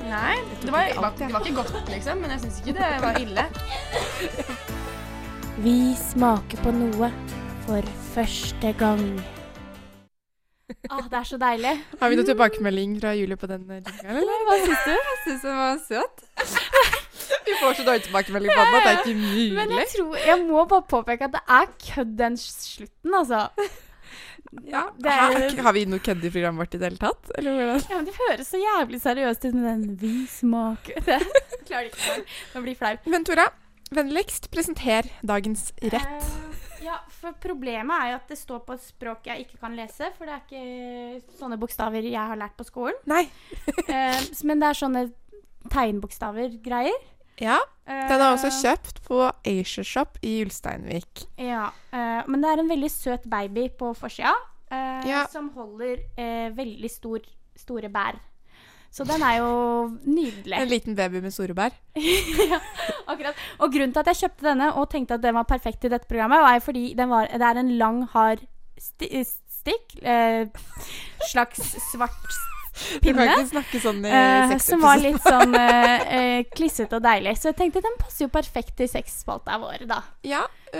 Speaker 5: Nei, det var, det var, det var ikke godt, liksom, men jeg syns ikke det var ille.
Speaker 1: Vi smaker på noe for første gang. Ah, det er så deilig.
Speaker 2: Har vi noen tilbakemelding fra Julie på den eh, jinglen, eller?
Speaker 4: Hva syns du? Jeg syns den var søt.
Speaker 2: Vi får så dårlig tilbakemelding på den at det er ikke
Speaker 1: Men
Speaker 2: mulig.
Speaker 1: jeg tror Jeg må bare påpeke at det er kødd den s- slutten, altså.
Speaker 2: Ja,
Speaker 1: det er-
Speaker 2: har, har vi noe kødd i programmet vårt i det hele tatt? Eller hvordan?
Speaker 1: Ja, men Det høres så jævlig seriøst ut med den 'vi smaker' det. Klarer det ikke. Nå blir jeg flau.
Speaker 2: Men Tora, vennligst presenter dagens rett.
Speaker 1: Eh, ja, for problemet er jo at det står på et språk jeg ikke kan lese, for det er ikke sånne bokstaver jeg har lært på skolen.
Speaker 2: Nei.
Speaker 1: Eh, s- men det er sånne tegnbokstaver-greier.
Speaker 2: Ja,
Speaker 1: Eh,
Speaker 2: Den er også kjøpt på Asia Shop i Ulsteinvik.
Speaker 1: Ja, eh, men det er en veldig søt baby på forsida eh,
Speaker 2: Ja.
Speaker 1: som holder eh, veldig stor, store bær. Så den er jo nydelig.
Speaker 2: En liten baby med store bær.
Speaker 1: ja, akkurat. Og grunnen til at jeg kjøpte denne og tenkte at den var perfekt til dette programmet, var jo fordi den var, det er en lang, hard sti stikk, eh, slags svart
Speaker 2: Du kan
Speaker 1: pinne.
Speaker 2: ikke snakke sånn i
Speaker 1: Eh,
Speaker 2: sexepisoden.
Speaker 1: som var litt sånn eh, eh, klissete og deilig. Så jeg tenkte den passer jo perfekt til sexspalta vår, da.
Speaker 2: Ja. eh,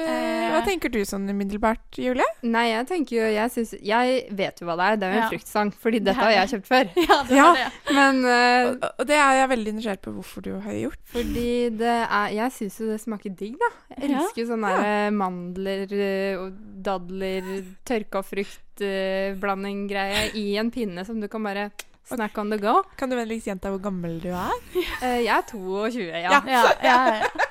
Speaker 2: hva
Speaker 1: Eh.
Speaker 2: tenker du sånn umiddelbart, Julie?
Speaker 4: Nei, jeg tenker jo Jeg, syns, jeg vet jo hva det er. Det er jo en
Speaker 1: Ja.
Speaker 4: fruktsang. Fordi
Speaker 1: er
Speaker 4: dette har
Speaker 1: det.
Speaker 4: jeg kjøpt før.
Speaker 1: Ja, det
Speaker 2: Ja.
Speaker 1: var det.
Speaker 4: Men eh,
Speaker 2: Og og det er jeg veldig nysgjerrig på hvorfor du har gjort.
Speaker 4: fordi det er Jeg syns jo det smaker digg, da. Jeg
Speaker 1: Ja.
Speaker 4: elsker jo sånne der, eh, mandler eh, og dadler, tørka frukt-blanding-greie i en pinne som du kan bare snack on the go.
Speaker 2: Kan du vennligst gjenta hvor gammel du er?
Speaker 4: Eh, jeg er 22, ja.
Speaker 1: Ja, ja, ja.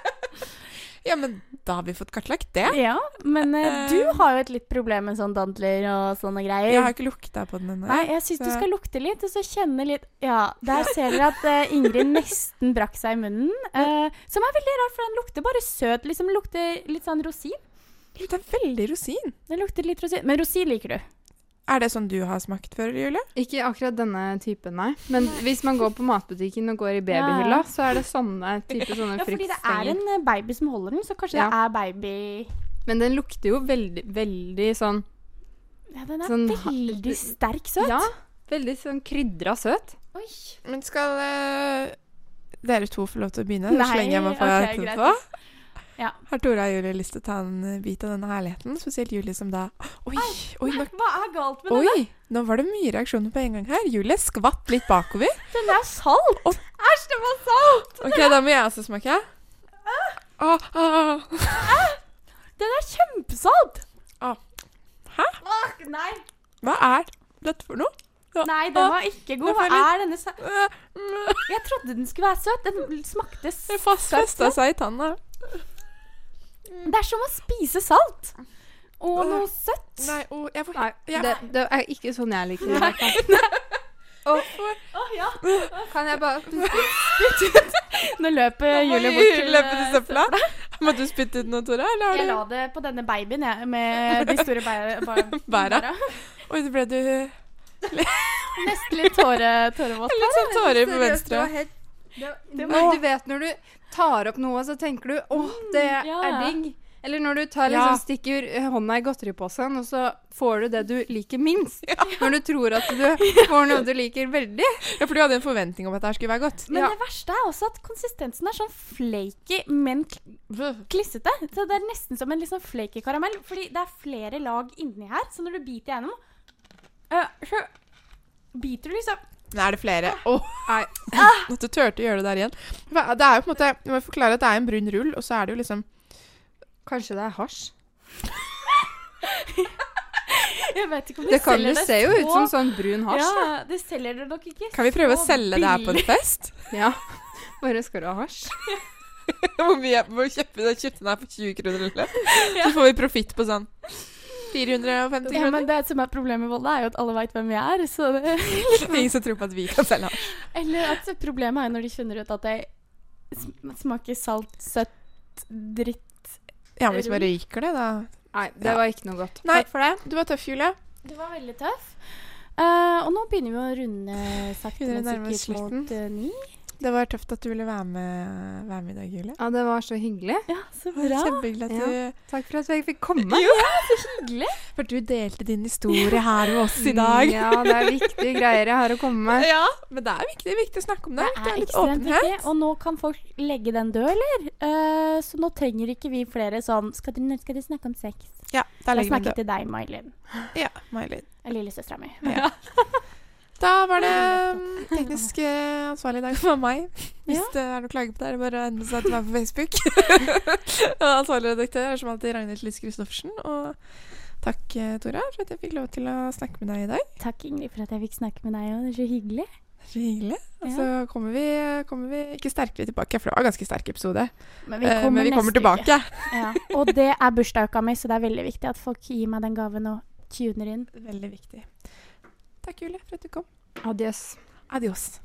Speaker 2: Ja, men da har vi fått kartlagt det.
Speaker 1: Ja, men eh, du har jo et litt problem med sånn dandler og sånne greier.
Speaker 2: Jeg har ikke lukta på den ennå.
Speaker 1: Nei, jeg syns du
Speaker 2: så-
Speaker 1: skal lukte litt, og så kjenne litt Ja, der ser dere at eh, Ingrid nesten brakk seg i munnen. eh, som er veldig rart, for den lukter bare søt. Liksom lukter litt sånn rosin.
Speaker 2: Det er veldig rosin.
Speaker 1: Den lukter litt rosin. Men rosin liker du.
Speaker 2: Er det sånn du har smakt før, Julie?
Speaker 4: Ikke akkurat denne typen, nei. Men hvis man går på matbutikken og går i babyhylla,
Speaker 1: Ja.
Speaker 4: så er det sånne type sånne
Speaker 1: Ja, fordi det er
Speaker 4: fruktstenger.
Speaker 1: en eh, baby som holder den, så kanskje det
Speaker 4: Ja.
Speaker 1: er baby
Speaker 4: Men den lukter jo veldig, veldig sånn
Speaker 1: Ja, den er
Speaker 4: Sånn ha-
Speaker 1: veldig sterk søt.
Speaker 4: Ja, veldig sånn krydra søt.
Speaker 1: Oi.
Speaker 2: Men skal eh, dere to få lov til å begynne?
Speaker 1: Nei,
Speaker 2: så lenge jeg må få
Speaker 1: ok, greit.
Speaker 2: etterpå.
Speaker 1: Ja.
Speaker 2: Har Tora og Julie lyst til å ta en eh, bit av denne herligheten? Spesielt Julie som da Oi, oi, nå,
Speaker 1: Hva er galt med den?
Speaker 2: oi, nå var det mye reaksjoner på en gang her. Julie skvatt litt bakover.
Speaker 1: Den er salt! Æsj, den var salt!
Speaker 2: Ok, da må jeg også smake. Ah, ah.
Speaker 1: Den er kjempesalt!
Speaker 2: Ah. Hæ?
Speaker 1: Åh, nei.
Speaker 2: Hva er dette for noe?
Speaker 1: nei, den var ikke god. Hva
Speaker 2: Den var
Speaker 1: er denne sa-
Speaker 2: Eh, mm,
Speaker 1: Jeg trodde den skulle være søt. Den smakte s-
Speaker 2: Det festa seg i tanna.
Speaker 1: Det er som å spise salt. Og
Speaker 2: Åh.
Speaker 1: noe søtt.
Speaker 2: Nei, å, jeg får
Speaker 4: Nei,
Speaker 2: Ja.
Speaker 4: det, det er ikke sånn jeg liker det. i hvert fall. Kan jeg bare
Speaker 1: Nå løper Julie
Speaker 2: Oi,
Speaker 1: bort til
Speaker 2: løpet i
Speaker 1: eh,
Speaker 2: søpla. Måtte du spytte ut noe, Tora? Eller
Speaker 1: Jeg la
Speaker 2: har du
Speaker 1: det på denne babyen, jeg, med de store bæ- bæ-
Speaker 2: Bæra. Oi, så ble du litt
Speaker 1: Nesten litt tåre, tårevåt.
Speaker 2: sånn tårer på
Speaker 4: Seriøst, det
Speaker 2: venstre.
Speaker 4: var helt- det-
Speaker 1: Det
Speaker 4: Når Du vet når du tar opp noe, så tenker du 'Å, det
Speaker 1: ja.
Speaker 4: er digg'. Eller når du tar,
Speaker 2: Ja.
Speaker 4: liksom, stikker eh, hånda i godteriposen, og så får du det du liker minst. Når du tror at du får noe du liker veldig.
Speaker 2: Ja, for du hadde en forventning om at det her skulle være godt.
Speaker 1: Men
Speaker 4: Ja.
Speaker 1: det verste er også at konsistensen er sånn flaky, men kl- klissete. Så Det er nesten som en litt sånn flaky karamell, fordi det er flere lag inni her. Så når du biter gjennom, øh, så biter du liksom
Speaker 2: Men er det flere? Åh, nei. At du turte å gjøre det der igjen. Hva- Det er jo på en måte, Jeg må forklare at det er en brun rull, og så er det jo liksom
Speaker 4: Kanskje det er hasj?
Speaker 1: Jeg vet ikke om de
Speaker 4: Det kan
Speaker 1: selger
Speaker 4: jo
Speaker 1: det
Speaker 4: se jo ut
Speaker 1: så-
Speaker 4: som sånn brun hasj.
Speaker 1: Ja, de selger det nok ikke.
Speaker 2: Kan vi prøve å
Speaker 1: så
Speaker 2: selge det her på en
Speaker 1: billig.
Speaker 2: fest?
Speaker 4: Ja. Bare skal du ha hasj?
Speaker 2: Hvor mye hvor kjøpte den kjøpte den her for 20 kroner, eller? Så får vi profitt på sånn 450
Speaker 1: Ja, men
Speaker 2: kroner.
Speaker 1: det som er problemet med Volda, er jo at alle veit hvem vi er. Så det
Speaker 2: Ingen som tror på at vi kan selge den.
Speaker 1: Eller at problemet er når de finner ut at det sm- smaker salt, søtt, dritt.
Speaker 2: Ja, men hvis man røyker det, da
Speaker 4: Nei, det
Speaker 2: Ja.
Speaker 4: var ikke noe godt.
Speaker 2: Nei.
Speaker 4: Takk for det.
Speaker 2: Du var tøff, Julie.
Speaker 1: Du var veldig tøff. Eh, og nå begynner vi å runde sakte,
Speaker 2: Begynner
Speaker 1: men
Speaker 2: å nærme oss
Speaker 1: sikkert mot eh, ni.
Speaker 2: Det var tøft at du ville være med, være med i dag, Julie.
Speaker 4: Ja, det var så hyggelig.
Speaker 1: Ja, så bra.
Speaker 2: Kjempehyggelig at du
Speaker 4: Takk for at jeg fikk komme.
Speaker 1: Hyggelig.
Speaker 2: For du delte din historie her med oss i dag.
Speaker 4: Mm, Ja, det er viktige greier jeg har å komme med.
Speaker 2: Ja, men det er viktig, viktig å snakke om det. Det
Speaker 1: Det er
Speaker 2: er litt
Speaker 1: ekstremt
Speaker 2: åpenhet.
Speaker 1: viktig. Og nå kan folk legge den død, eller? Eh, så nå trenger ikke vi flere sånn Skal dere, når skal dere snakke om sex?
Speaker 2: Ja, der
Speaker 1: Jeg
Speaker 2: legger vi
Speaker 1: snakker
Speaker 2: det.
Speaker 1: til deg, Mailin.
Speaker 2: Ja, Mailin.
Speaker 1: Lillesøstera mi.
Speaker 2: Ja. Da var det mm, teknisk eh, ansvarlig i dag for meg. Hvis
Speaker 1: Ja.
Speaker 2: det er noe klage på det, er det bare å henvende seg til meg på Facebook. og ansvarlig redaktør er som alltid Ragnhild Lise Christoffersen. Og takk, eh, Tora, for at jeg fikk lov til å snakke med deg i dag.
Speaker 1: Takk, Ingrid, for at jeg fikk snakke med deg òg. Det er så hyggelig.
Speaker 2: Det er Så hyggelig. Og så kommer vi, kommer vi ikke sterkere tilbake, for det var en ganske sterk episode.
Speaker 1: Men
Speaker 2: Eh, Men vi kommer tilbake.
Speaker 1: Ja. Og det er bursdagsuka mi, så det er veldig viktig at folk gir meg den gaven og tuner inn.
Speaker 2: Veldig viktig. Takk, Julie, for at du kom.
Speaker 4: Adjøs.
Speaker 2: Adios.